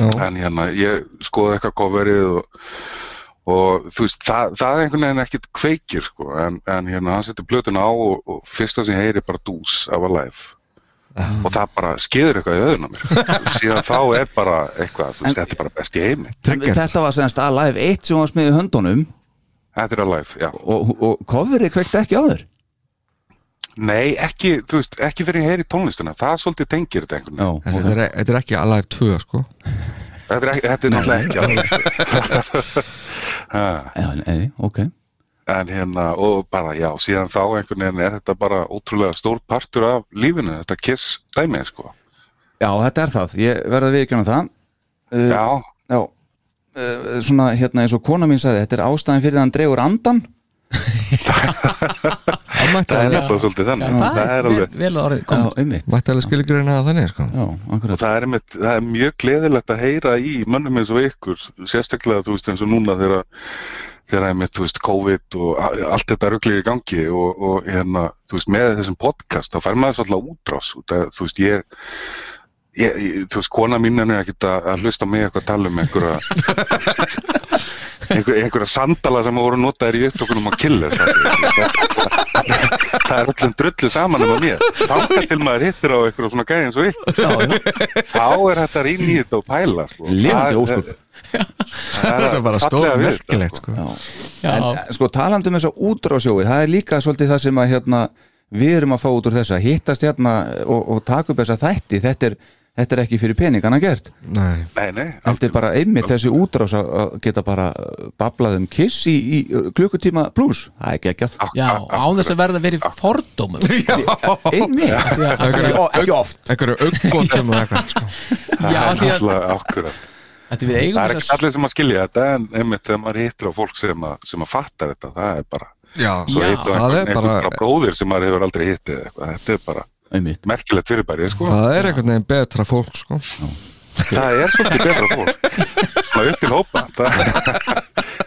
Speaker 3: Já,
Speaker 9: en hérna ég skoði eitthvað coverið og, og þú veist það, það er einhvern veginn ekkit kveikir sko en, en hérna hann setur plötuna á og, og fyrsta sem ég heyri er bara dús af að live og það bara skeður eitthvað í öðun á mér síðan þá er bara eitthvað þú veist þetta er bara best í heimi
Speaker 2: En Þetta var semst Alive 1 sem var smiðið höndunum
Speaker 9: þetta er að live, já
Speaker 2: og, og coverið kvekti ekki á þér
Speaker 9: nei ekki, þú veist ekki fyrir ég heyri tónlistina það svolítið tengir þetta einhvern veginn
Speaker 3: Þessi, þetta, er, þetta er ekki Alive 2 sko
Speaker 9: Þetta er, ekki- þetta er náttúrulega ekki alveg Ha,
Speaker 2: já, nei, ok
Speaker 9: en hérna og bara já, síðan þá einhvern veginn er þetta bara ótrúlega stór partur af lífinu, þetta kiss dæmið sko
Speaker 2: Já, þetta er það, ég verði að viðkjöna það
Speaker 9: já,
Speaker 2: Já, uh, svona hérna eins og kona mín sagði Þetta er ástæðin fyrir að hann dregur andan
Speaker 3: Það mætti
Speaker 9: það er
Speaker 3: alveg-
Speaker 9: nefnilega svolítið þannig það er alveg,
Speaker 4: Vel orðið,
Speaker 2: Já,
Speaker 4: kom
Speaker 2: einmitt
Speaker 3: mætti alveg skilgreina það þannig sko
Speaker 2: Já,
Speaker 9: og
Speaker 2: akkurat
Speaker 9: það er, einmitt, það er mjög gleðilegt að heyra í mönnum eins og ykkur, sérstaklega þú veist eins og núna þegar þegar einmitt, þú veist, COVID og a- allt þetta ruglið í gangi og, og hérna, þú veist, með þessum podcast, þá fær maður svolítið útrás, út að, þú veist, ég Ég, ég, þú veist, kona mín er ekkert að, að hlusta á mig eitthvað að tala um einhverja einhver, einhverja sandala sem voru notaðir í upptökunum á killir það, það er öllum drullu saman um að mér þá til maður hittir á einhverja svona gæði eins og ykkur þá er þetta rýn í þetta og pæla sko.
Speaker 2: Lifandi
Speaker 9: Það-
Speaker 2: ósköp.
Speaker 3: Þetta er bara stór merkilegt sko.
Speaker 4: Já.
Speaker 2: en eh, sko talandi um þessa útrásjói það er líka svolítið það sem að hérna, við erum að fá út úr þessa hittast hérna og, og taka upp þessa þætti þetta er, þetta er ekki fyrir peningana gert
Speaker 3: Nei,
Speaker 9: Nei, nei,
Speaker 2: þetta er bara einmitt þessi útrás að að geta bara bablað um kiss í, í klukkutíma pluss það er ekki ekki að
Speaker 4: Já, án þess að verða verið fordómum Já,
Speaker 2: einmitt,
Speaker 4: já
Speaker 2: Ó, ekki oft
Speaker 3: einhverju auggotum og eitthvað sko.
Speaker 9: það er
Speaker 4: því að,
Speaker 9: náttúrulega akkurat
Speaker 4: að því við eigum sko,
Speaker 9: Það er ekki
Speaker 4: þess að
Speaker 9: allir sem að skilja þetta en einmitt þegar maður hittir á fólk sem að, sem að fattar þetta, það er bara
Speaker 3: Já,
Speaker 9: svo
Speaker 4: Já,
Speaker 9: hittu
Speaker 3: það er
Speaker 9: einhvern
Speaker 3: bara-
Speaker 9: bara bróðir sem maður hefur aldrei hittið eða eitthvað, þetta er bara
Speaker 2: einmitt
Speaker 9: merkilegt fyrirbæri, sko
Speaker 3: það er einhvern veginn betra fólk sko.
Speaker 9: það er svolítið betra fólk maður upp til hópa það,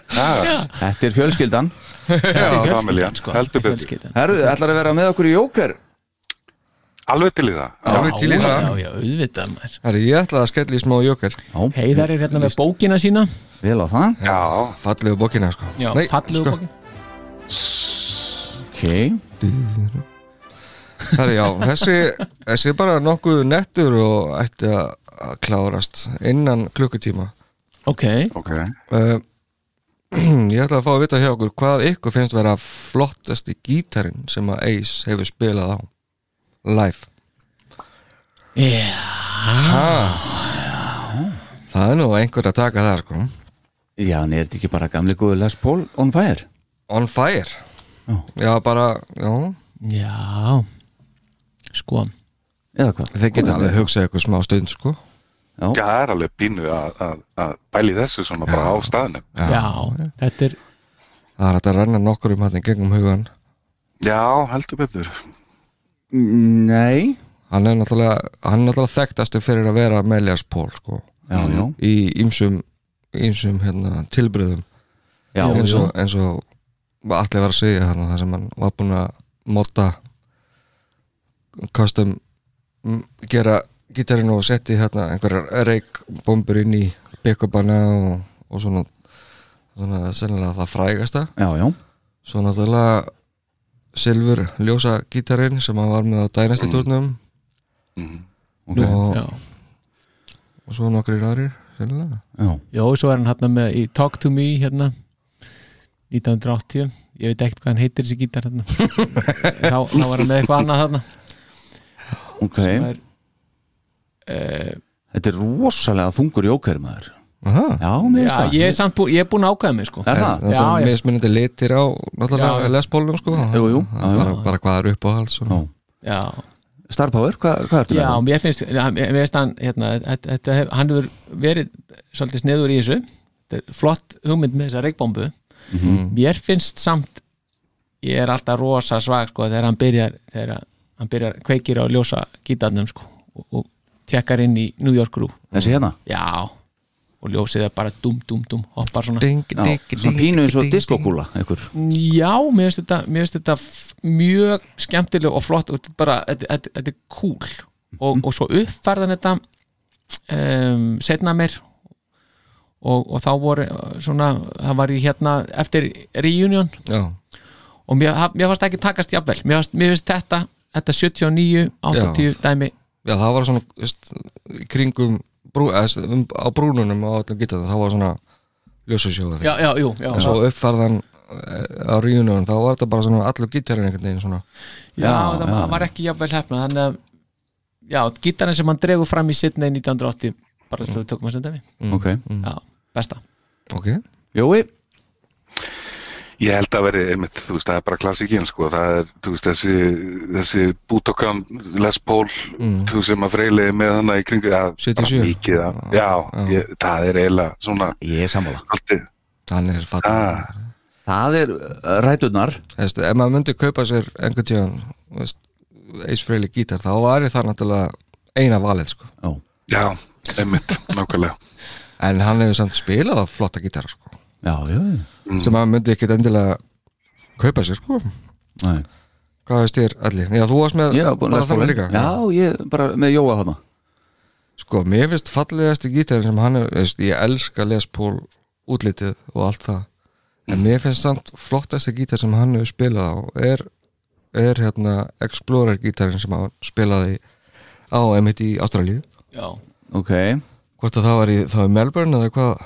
Speaker 9: það,
Speaker 2: Þetta er fjölskyldan
Speaker 9: það er
Speaker 4: fjölskyldan,
Speaker 9: familjan,
Speaker 4: sko,
Speaker 9: heldur betur
Speaker 4: fjölskyldan.
Speaker 2: Herðu, ætlar að vera með okkur í jóker
Speaker 9: alveg til í það
Speaker 3: Já, við til í
Speaker 4: Já, Já,
Speaker 3: það
Speaker 4: já, auðvitað maður
Speaker 3: Herri, Ég ætlaði að skella í smá jökir
Speaker 4: Heiðar er hérna með bókina sína
Speaker 2: Vel á það
Speaker 9: já,
Speaker 3: Fallegu bókina sko.
Speaker 4: Já,
Speaker 3: Nei,
Speaker 4: fallegu
Speaker 3: sko.
Speaker 4: bókin
Speaker 2: Ok
Speaker 3: Herri, já, þessi, þessi er bara nokkuð nettur og ætti að að klárast innan klukkutíma
Speaker 4: Ok,
Speaker 9: ok
Speaker 3: uh, Ég ætla að fá að vita hjá okkur hvað ykkur finnst vera flottasti gítarinn sem að Ace hefur spilað á live
Speaker 4: já,
Speaker 3: Það er nú einhver að taka það sko.
Speaker 2: Já, en er þetta ekki bara gamli góðu Les Paul on fire?
Speaker 3: On fire
Speaker 2: Já.
Speaker 3: Já, bara, já
Speaker 4: já Sko,
Speaker 2: Eða hvað?
Speaker 3: Þeir geta alveg hugsað ykkur smá stund sko
Speaker 9: já, það er alveg pínu að, að, að bæli þessu svona bara á staðnum
Speaker 4: já, þetta er
Speaker 3: Það er hægt að renna nokkur um hann í gegnum hugan
Speaker 9: já, heldur betur
Speaker 2: Nei
Speaker 3: Hann er náttúrulega, hann er náttúrulega þekktastu fyrir að vera Melias Pól sko
Speaker 2: Já, já
Speaker 3: Í ýmsum, ýmsum hérna, tilbröðum
Speaker 2: Já,
Speaker 3: eins og, eins og allir var að segja hann þar sem hann var búinn að móta custom m, gera gítarinn og setti hérna einhverjar reikbombur inn í pick-upana og, og svona svona sennilega það frægasta
Speaker 2: já, já
Speaker 3: svo náttúrulega silfur ljósa gítarinn sem hann var með á
Speaker 4: Mm.
Speaker 3: dænæsti tórnum
Speaker 9: Mhm.
Speaker 2: Ok.
Speaker 3: og,
Speaker 4: Já,
Speaker 3: og svo nokkrir aðrir sennilega
Speaker 2: Já,
Speaker 4: Jó, svo er hann hérna með í Talk to me hérna 1980 Ég veit ekkert hvað hann heitir þessi gítar hérna þá, þá var hann með eitthvað annað hérna
Speaker 2: ok
Speaker 4: er, uh,
Speaker 2: Þetta er rosalega þungur jóker maður
Speaker 3: Aha.
Speaker 2: Já, mér
Speaker 4: já,
Speaker 2: finnst það
Speaker 4: ég er samt búin, ég er búin að ákvæða mig sko
Speaker 2: Er það?
Speaker 3: Þetta
Speaker 4: Já, já.
Speaker 3: er mismunandi litir á
Speaker 4: Já, já.
Speaker 3: náttúrulega lesbólum sko
Speaker 2: Jú, jú, já, já.
Speaker 3: bara, bara hvað er uppáhalds og-
Speaker 2: Já.
Speaker 4: Já,
Speaker 2: Star Power, hva, hvað ertu
Speaker 4: já,
Speaker 2: með?
Speaker 4: mér finnst, já, mér mér finnst hann hérna, þetta, þetta hef, hann hefur verið svolítið sniður í þessu þetta er flott hugmynd með þessa reikbombu Mér finnst samt ég er alltaf rosa svag sko þegar hann byrjar, þegar hann byrjar kveikir á ljósa gítarnum sko og, og tekkar inn í New York Group
Speaker 2: Þessi hérna?
Speaker 4: Já, og ljósið er bara dum, dum, dum, hoppar svona
Speaker 3: Ding,
Speaker 2: Já,
Speaker 3: ding,
Speaker 2: svona
Speaker 3: ding,
Speaker 2: pínu eins og
Speaker 3: ding,
Speaker 2: diskokúla einhver.
Speaker 4: Já, mér finnst þetta, mér finnst þetta f- mjög skemmtileg og flott og þetta er bara, þetta, þetta, þetta er cool og, og svo uppfærðan þetta um, setna mér og, og þá voru uh, svona, það var í hérna eftir reunion
Speaker 3: ding. Já,
Speaker 4: og mér, það- mér fannst ekki takast jafnvel mér fannst, mér finnst þetta, þetta 79 80 dæmi,
Speaker 3: já, það var svona veist, í kringum brú, eða, s- um, á brúnunum á öllum gítarinn það var svona ljósusjóðu
Speaker 4: já, já, jú já,
Speaker 3: en svo uppfærðan eh, á ríunum þá var þetta bara svona allur gítarinn einhvern veginn svona
Speaker 4: já,
Speaker 2: Já,
Speaker 4: það
Speaker 2: já.
Speaker 4: var ekki jafnvel hefna þannig að, já, gítarinn sem hann dregur fram í setna 1980, bara svo við tökum að senda við
Speaker 2: Ok
Speaker 3: Mm.
Speaker 4: já, besta
Speaker 3: ok,
Speaker 2: Jói
Speaker 9: Ég held að veri, einmitt, þú veist, það er bara klassíkin, sko, það er, þú veist, þessi, þessi Butokan Les Paul,
Speaker 4: Mm.
Speaker 9: þú veist, sem að freyliði með hana í kringu, já,
Speaker 3: 77.
Speaker 9: bara mikið, af- já, ég, það er eiginlega svona,
Speaker 2: Ég er sammála
Speaker 9: alltið,
Speaker 3: hann er fatt
Speaker 9: Ah.
Speaker 2: Það er uh, rætunar
Speaker 3: Veist, ef maður myndi kaupa sér einhvern tíðan veist, Ace Frehley gítar þá væri það náttúrulega eina valið sko.
Speaker 9: já, einmitt, nákvæmlega.
Speaker 3: en hann hefur samt spilað á flotta gítar sko.
Speaker 2: Já, já, já
Speaker 3: sem maður myndi ekkit endilega kaupa sér sko.
Speaker 2: Nei.
Speaker 3: hvað veist þér allir? Já, þú varst með
Speaker 2: Ég var búin að
Speaker 3: bara
Speaker 2: lesa
Speaker 3: þarna
Speaker 2: bókin.
Speaker 3: líka
Speaker 2: Já, ég bara með Jóa hana
Speaker 3: Sko, mér finnst fallegasti gítarinn sem hann er, veist, ég elska Les Paul útlitið og allt það en mér finnst samt flottasti gítar sem hann hefur spilað á er, er hérna Explorer gítarinn sem hann spilaði á emitt í Ástralíu
Speaker 4: já
Speaker 2: Ok,
Speaker 3: hvort að það var í, það var í Melbourne eða hvað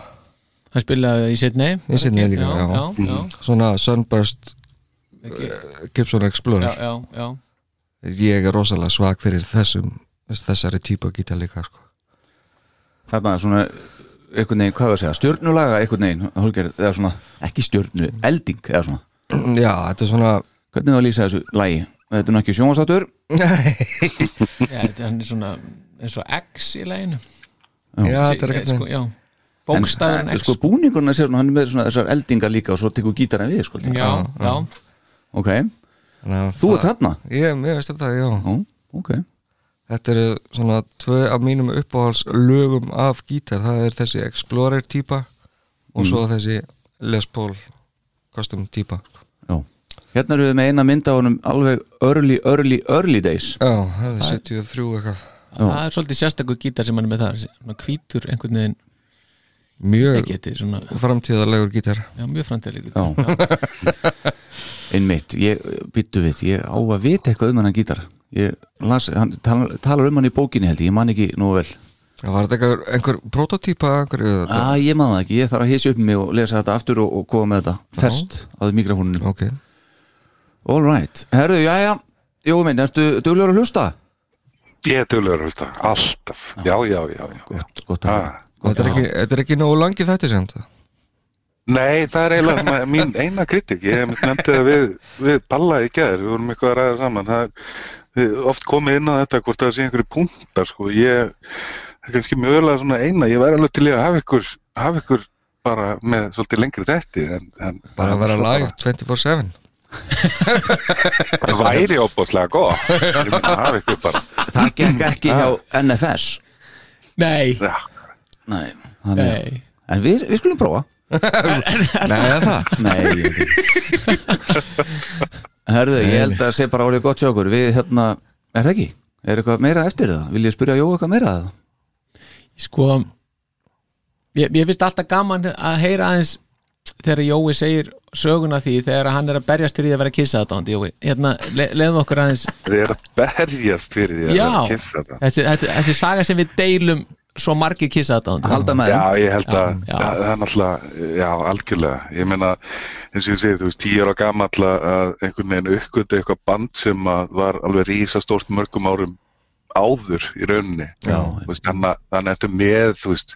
Speaker 4: hann spilaði í Sydney
Speaker 3: Í Sydney
Speaker 4: Ekki?
Speaker 3: líka, já.
Speaker 4: já, já,
Speaker 3: Svona Sunburst
Speaker 4: Ekki-
Speaker 3: uh, Gibson Explorer
Speaker 4: já, já, já.
Speaker 3: Ég er rosalega svag fyrir þessum þessari típu að gítar líka sko.
Speaker 2: Þarna er svona einhvern veginn, hvað var að segja, stjörnulaga einhvern veginn, Holger, eða svona ekki stjörnu, elding eða svona
Speaker 3: Já, þetta er svona
Speaker 2: Hvernig var að lýsa þessu lægi? Þetta er nú ekki sjónvarsáttur
Speaker 4: Já, þetta- hann er svona eins og X í læginu
Speaker 3: Já, þetta er ekkert
Speaker 4: sko,
Speaker 3: sko,
Speaker 4: já, bókstæðan X
Speaker 2: sko búningurinn er sér, hann er með svona, þessar eldingar líka og svo tekur gítarinn við sko,
Speaker 4: já, já,
Speaker 2: Ok, þú ert þarna
Speaker 3: Ég, ég veist þetta, já
Speaker 2: Ó, Ok,
Speaker 3: Þetta eru svona tvö af mínum uppáhalds lögum af gítar það er þessi Explorer típa og svo þessi Les Paul custom típa
Speaker 2: já Hérna eru við með eina mynd af honum alveg early, early, early days
Speaker 3: Já, það er 73 eitthvað
Speaker 4: það er svolítið sérstakur gítar sem hann er með þar svona hvítur einhvern veginn
Speaker 3: Mjög
Speaker 4: ekki, þetta er svona,
Speaker 3: framtíðarlegur gítar
Speaker 4: já, mjög framtíðalík
Speaker 2: Já. Einmitt, ég byttu við, ég á að vita eitthvað um hennan gítar Ég las, hann tal, talar um hann í bókinni held ég, ég man ekki nú vel
Speaker 3: Það var þetta einhver, einhver prototípa einhverju eða þetta?
Speaker 2: Æ, ég man það ekki, ég þarf að hysja upp mig og lesa þetta aftur og, og koma með þetta Fest að mikrofónunum
Speaker 3: Ok,
Speaker 2: All right, herðu, jæja Jói minn, ertu duglur að hlusta?
Speaker 9: Ég er tölugur að hlusta, alltaf
Speaker 3: Ah.
Speaker 9: Já, já, já, já
Speaker 2: Gott, gott að
Speaker 9: Ah.
Speaker 2: hlusta
Speaker 3: þetta er, ekki, þetta er ekki nógu langi þetta sem
Speaker 9: Nei, það er eiginlega svona mín eina kritik Ég hef nefndi það við, við Palla í gær Við vorum eitthvað að ræða saman Það er þið oft komið inn á þetta hvort það sé einhverju punktar sko. Ég það er kannski mjög öðlega svona eina Ég væri alveg til í að hafa ykkur, hafa ykkur bara með svolítið lengri þetti en, en
Speaker 3: bara að vera live 24-7
Speaker 9: Það væri óbúslega gott Ég myndi að hafa ykkur bara
Speaker 2: Það gekk ekki hjá NFS
Speaker 4: Nei,
Speaker 9: Já,
Speaker 2: Nei, hann er
Speaker 4: nei
Speaker 2: En við, við skulum prófa
Speaker 3: Nei, er það
Speaker 2: Nei ég veit ekki. Herðu, ég held að sé bara orðið gott hjá okkur Við hérna, er það ekki? Er eitthvað meira eftir það? Vil ég spyrja Jói eitthvað meira að það?
Speaker 4: sko ég, ég finnst alltaf gaman að heyra aðeins þegar Jói segir söguna því þegar hann er að berjast fyrir því að vera kissa þetta Jói, hérna, le, leiðum okkur aðeins
Speaker 9: þið er að berjast fyrir því að
Speaker 4: Já,
Speaker 9: kissa það
Speaker 4: þessi, þessi, þessi saga sem við deilum svo margir kissa þetta
Speaker 2: Halda með
Speaker 9: Já, ég held
Speaker 4: Já,
Speaker 9: að
Speaker 4: já.
Speaker 9: að það er náttúrulega, já, algjörlega ég meina, eins og ég segi, þú veist, tíu ára gamall að einhvern veginn uppgötu eitthvað band sem að var alveg rísastórt mörgum árum áður í rauninni
Speaker 2: Já.
Speaker 9: Þú veist, þannig að- þannig að þetta með, þú veist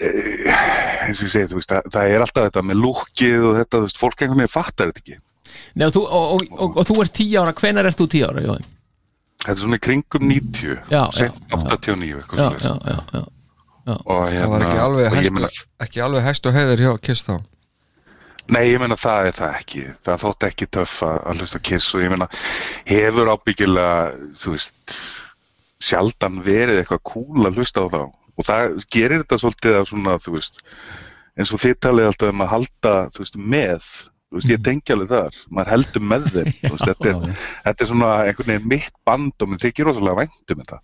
Speaker 9: eh, eins og ég segi, þú veist, það, það er alltaf þetta með lúkið og þetta, þú veist, fólk einhvern veginn fattar þetta ekki
Speaker 4: Nei, og, þú, og, og, og, og þú ert tíu ára, hvenær ert þú tíu ára Jói?
Speaker 9: þetta er svona í kringum 90,
Speaker 4: Já, já.
Speaker 9: seint 89 eitthvað
Speaker 4: Já,
Speaker 9: svoleiðis.
Speaker 4: já, já, já.
Speaker 3: Það
Speaker 9: og
Speaker 3: var
Speaker 9: hérna,
Speaker 3: ekki
Speaker 9: og
Speaker 3: alveg
Speaker 9: ég meina
Speaker 3: hæstu, ekki alveg hæstu heiðir hjá Kiss þá
Speaker 9: Nei, ég meina það er það ekki. Það þótt ekki töff að, að hlusta á kiss og ég meina hefur ábyggilega, þú veist, sjaldan verið eitthvað cool að hlusta á þá. Og það gerir þetta svolítið að svona, þú veist, eins og þið talið alltaf um að halda, þú veist, með. Þú veist, ég tengi alveg þar. Maður heldur með þeim. þú veist, þetta, er, þetta er svona einhvern veginn mitt band og mér þykir rosalega vænt um þetta.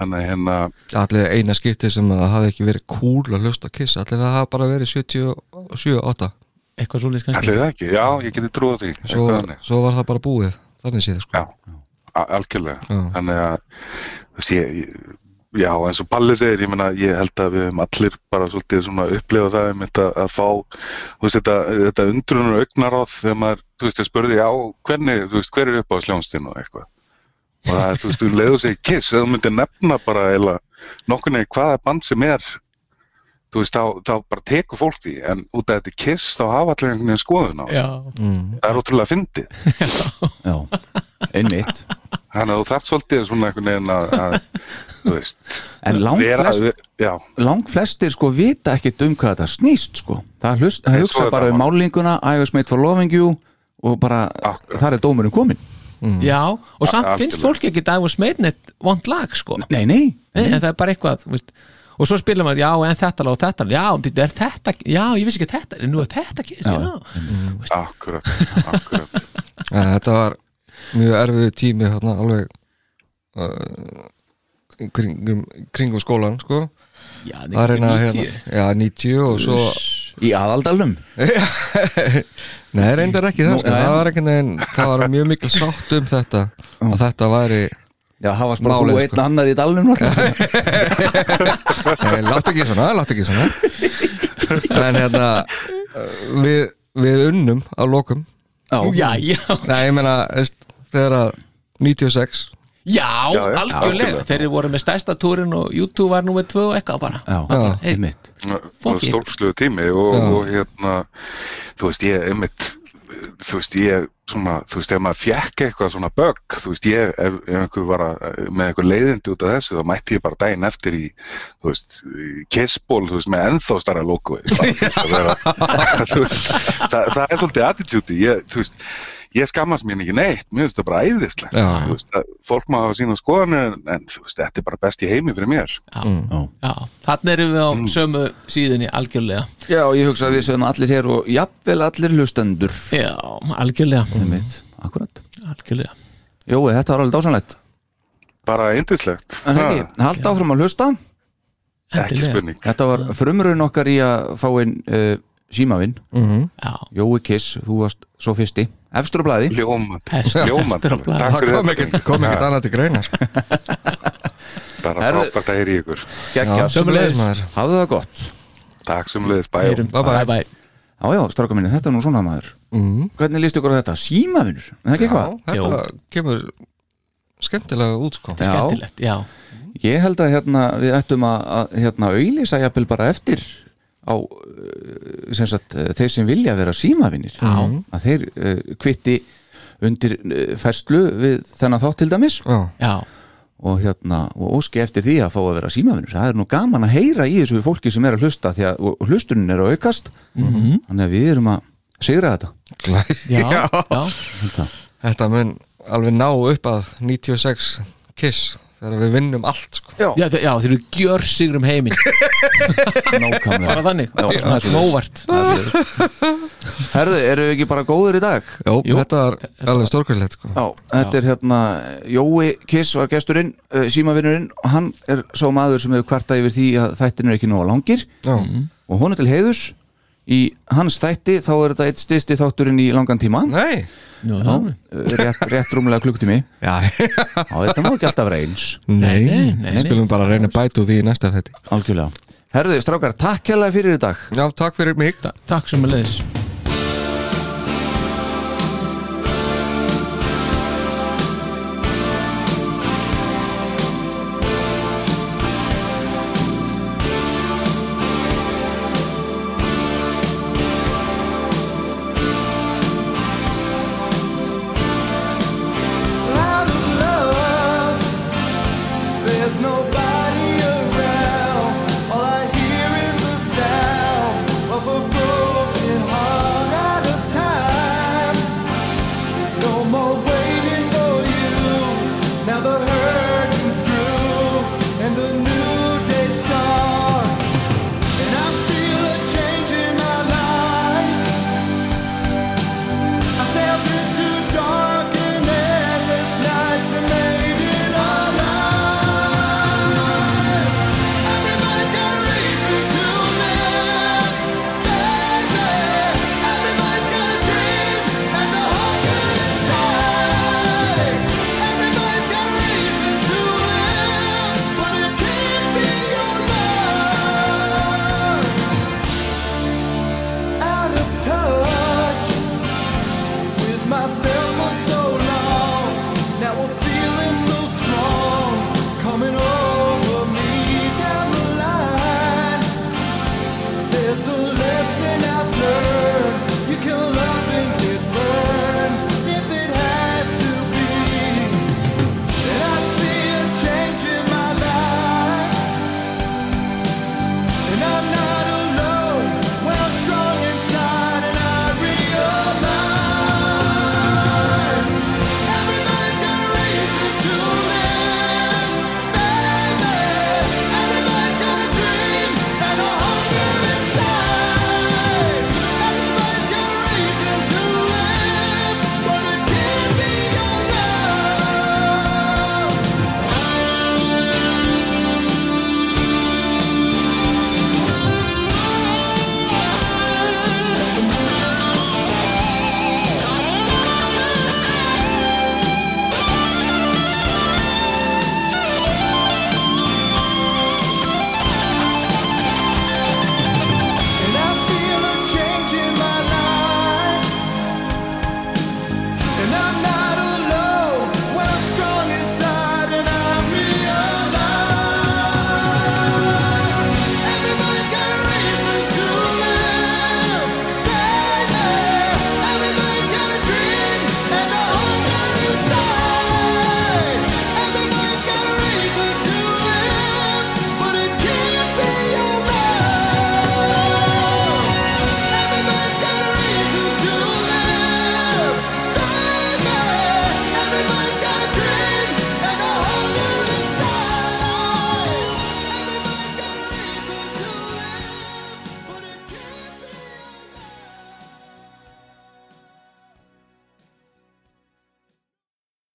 Speaker 9: Þannig að hérna,
Speaker 3: Allir eina skiptið sem að það hafði ekki verið cool að hlusta á Kiss Allir það hafði bara verið 77-8
Speaker 4: eitthvað svoleiðis kannski
Speaker 9: allir það ekki? Já, ég geti trúið því.
Speaker 3: svo,
Speaker 9: Eitthvað þannig.
Speaker 3: svo var það bara búið Þannig séð sko
Speaker 9: Já, a- algjörlega
Speaker 3: Já.
Speaker 9: þannig að þú veist, ég, ég, já, eins og Palli segir ég, meina, ég held að við höfum allir bara svolítið svona upplifa það um þetta að fá þú veist, þetta, þetta undrunar augnaráð þegar maður, þú veist, ég spurði já, hvernig, þú veist, hver er upp á sljónstinn og eitthvað og það, er, þú veist, þú leiður sig kiss eða þú myndir nefna bara eila nokkurni hvaða band sem er þú veist, þá, þá bara tekur fólk því en út af þetta er kiss, þá hafa allir einhvern veginn skoðun á þessu.
Speaker 4: Já,
Speaker 9: það er ótrúlega fyndið
Speaker 2: Já, einmitt
Speaker 9: Þannig að þú þarft svolítið svona einhvern veginn að, að þú veist,
Speaker 2: En langflest,
Speaker 9: já,
Speaker 2: langflestir sko vita ekkit um hvað þetta snýst sko Það, hlust, það
Speaker 9: Nei, svo
Speaker 2: hugsa
Speaker 9: er
Speaker 2: bara
Speaker 9: það
Speaker 2: um
Speaker 9: mál.
Speaker 2: málinguna I was made for loving you og bara
Speaker 9: Akkurat.
Speaker 2: þar er dómurinn komin
Speaker 4: já, og samt
Speaker 9: Algjörlega.
Speaker 4: finnst fólk ekki dag og smeitnett vond lag sko
Speaker 2: Nei, nei,
Speaker 4: Nei, en það er bara eitthvað þú veist. og svo spila maður, já, en þetta lag og þetta lag, já, býttu, er þetta, já, ég vissi ekki að þetta nú er þetta kynst, já,
Speaker 9: akkurat, akkurat
Speaker 3: ja, Þetta var mjög erfiðu tími hérna, alveg uh, í kringum, kringum skólan sko.
Speaker 4: já,
Speaker 3: Að reyna,
Speaker 4: ekki
Speaker 3: hérna, já, 90 og svo
Speaker 2: í aðaldalum
Speaker 3: Nei, reyndar ekki það,
Speaker 2: Nú,
Speaker 3: sko.
Speaker 2: já, já.
Speaker 3: það var ekki neginn, það var mjög mikil sátt um þetta að þetta væri,
Speaker 2: Já, það var bara
Speaker 3: Málið,
Speaker 2: þú
Speaker 3: sko.
Speaker 2: einn annar í dalnum náttúrulega.
Speaker 3: nei, láttu ekki svona láttu ekki svona en hérna við, við unnum á lokum
Speaker 4: Já, já,
Speaker 3: Nei, ég meina, veist, þegar að 96
Speaker 4: já,
Speaker 9: já,
Speaker 4: algjörlega
Speaker 9: algjörlega.
Speaker 4: Þeir eru voru með stærsta túrin og YouTube var númer 2 og eitthvað bara
Speaker 2: Já,
Speaker 3: Já.
Speaker 2: hey. mitt
Speaker 4: Fuck
Speaker 9: og
Speaker 4: it.
Speaker 9: stórslögu tími og,
Speaker 3: Já.
Speaker 9: og hérna þú veist ég einmitt þú veist ég svona þú veist ef maður fjekk eitthvað svona bögg þú veist ég ef, ef einhver var að, með einhver leiðindi út af þessu þá mætti ég bara daginn eftir í þú veist í kissból þú veist með ennþá starra logo bara, þú veist, að vera- þú veist, það, það er svolítið attitúti ég þú veist ég skammast mér ekki neitt, mér finnst það bara æðislegt
Speaker 3: Já.
Speaker 9: þú veist, að fólk má hafa sína skoðanir en, en þú veist, þetta er bara best í heimi fyrir mér
Speaker 4: Já, þannig erum við á sömu síðunni algjörlega
Speaker 2: Já, ég hugsa að við sögum allir hér og jafnvel allir hlustendur
Speaker 4: Já, algjörlega,
Speaker 2: mitt, akkurat
Speaker 4: algjörlega
Speaker 2: Jói, þetta var alveg dásanlegt
Speaker 9: bara eindislegt
Speaker 2: En hekki, halda áfram að hlusta
Speaker 9: ekki
Speaker 4: Endilega.
Speaker 9: spurning
Speaker 2: Þetta var frumrun okkar í að fá inn uh, símavinn
Speaker 4: Já,
Speaker 2: Jói Kiss, þú varst svo fyrsti Efstur á blæði
Speaker 9: Ljómandi,
Speaker 4: Efstur-
Speaker 9: ljómandi
Speaker 4: efstur á blaði.
Speaker 9: Takk
Speaker 3: það
Speaker 9: fyrir
Speaker 3: kom
Speaker 9: þetta.
Speaker 3: ekkert kom ekkert annað til greina sko.
Speaker 9: Bara
Speaker 2: Herðu-
Speaker 9: frábært að heyri ykkur
Speaker 2: Gekka,
Speaker 4: sömuleiðis.
Speaker 3: maður.
Speaker 2: hafðu það gott
Speaker 9: Takk sem leiðis bæjum
Speaker 4: heyrum,
Speaker 3: Bye bye.
Speaker 4: bye bye
Speaker 2: Já, já, stráka minni, þetta er nú svona maður
Speaker 3: mm.
Speaker 2: Hvernig líst ykkur á þetta? Símavinnur, en það ekki
Speaker 3: Já,
Speaker 2: eitthvað?
Speaker 3: þetta
Speaker 4: Jú.
Speaker 3: kemur skemmtilega út sko.
Speaker 2: Já.
Speaker 4: Skemmtilegt, já,
Speaker 2: Ég held að hérna, við ættum að, að hérna, auðlýsa jafnvel bara eftir á eh, sem sagt, eh, þeir sem vilja vera símavinnir að þeir uh, kvitti undir uh, færslu við þennan þátt til dæmis
Speaker 3: Já.
Speaker 4: já,
Speaker 2: og, hérna, og óski eftir því að fá að vera símavinnur það er nú gaman að heyra í þessu fólki sem er að hlusta því að og hlustunin er að aukast -hmm. þannig að við erum að sigra þetta
Speaker 3: Glæ-
Speaker 4: já, já.
Speaker 3: þetta mun alveg ná upp að 96 kiss þegar við vinnum allt sko.
Speaker 4: Já, þe- já, þeir eru gjör sigrum heiminn bara
Speaker 2: Nákvæmlega
Speaker 4: þannig,
Speaker 2: Já,
Speaker 4: svona
Speaker 2: já.
Speaker 4: svona óvart
Speaker 2: Það er svoleiðis. Herðu, eru við ekki bara góður í dag?
Speaker 3: Jó,
Speaker 4: Jú.
Speaker 3: þetta var alveg stórkvöldlegt sko.
Speaker 2: Já, þetta er hérna Jói Kiss var gesturinn, uh, símavinnurinn og hann er sá maður sem hefur kvarta yfir því að þættin er ekki nóga langir
Speaker 3: Já.
Speaker 2: og honum til heiðus í hans þætti þá er þetta eitt styrsti þátturinn í langan tíma
Speaker 3: Nei
Speaker 4: Nú,
Speaker 2: Já,
Speaker 4: já.
Speaker 2: uh, rétt, rétt rúmlega klukktími
Speaker 3: Já.
Speaker 2: Já, þetta má ekki alltaf vera eins
Speaker 3: Nei,
Speaker 4: nei, nei,
Speaker 3: við skulum bara reyna að bæta úr því í næsta þetta
Speaker 2: Algjörlega Herðu, strákar, takk hérlega fyrir í dag
Speaker 3: Já, takk fyrir mig
Speaker 4: Ta- Takk sem að leiðis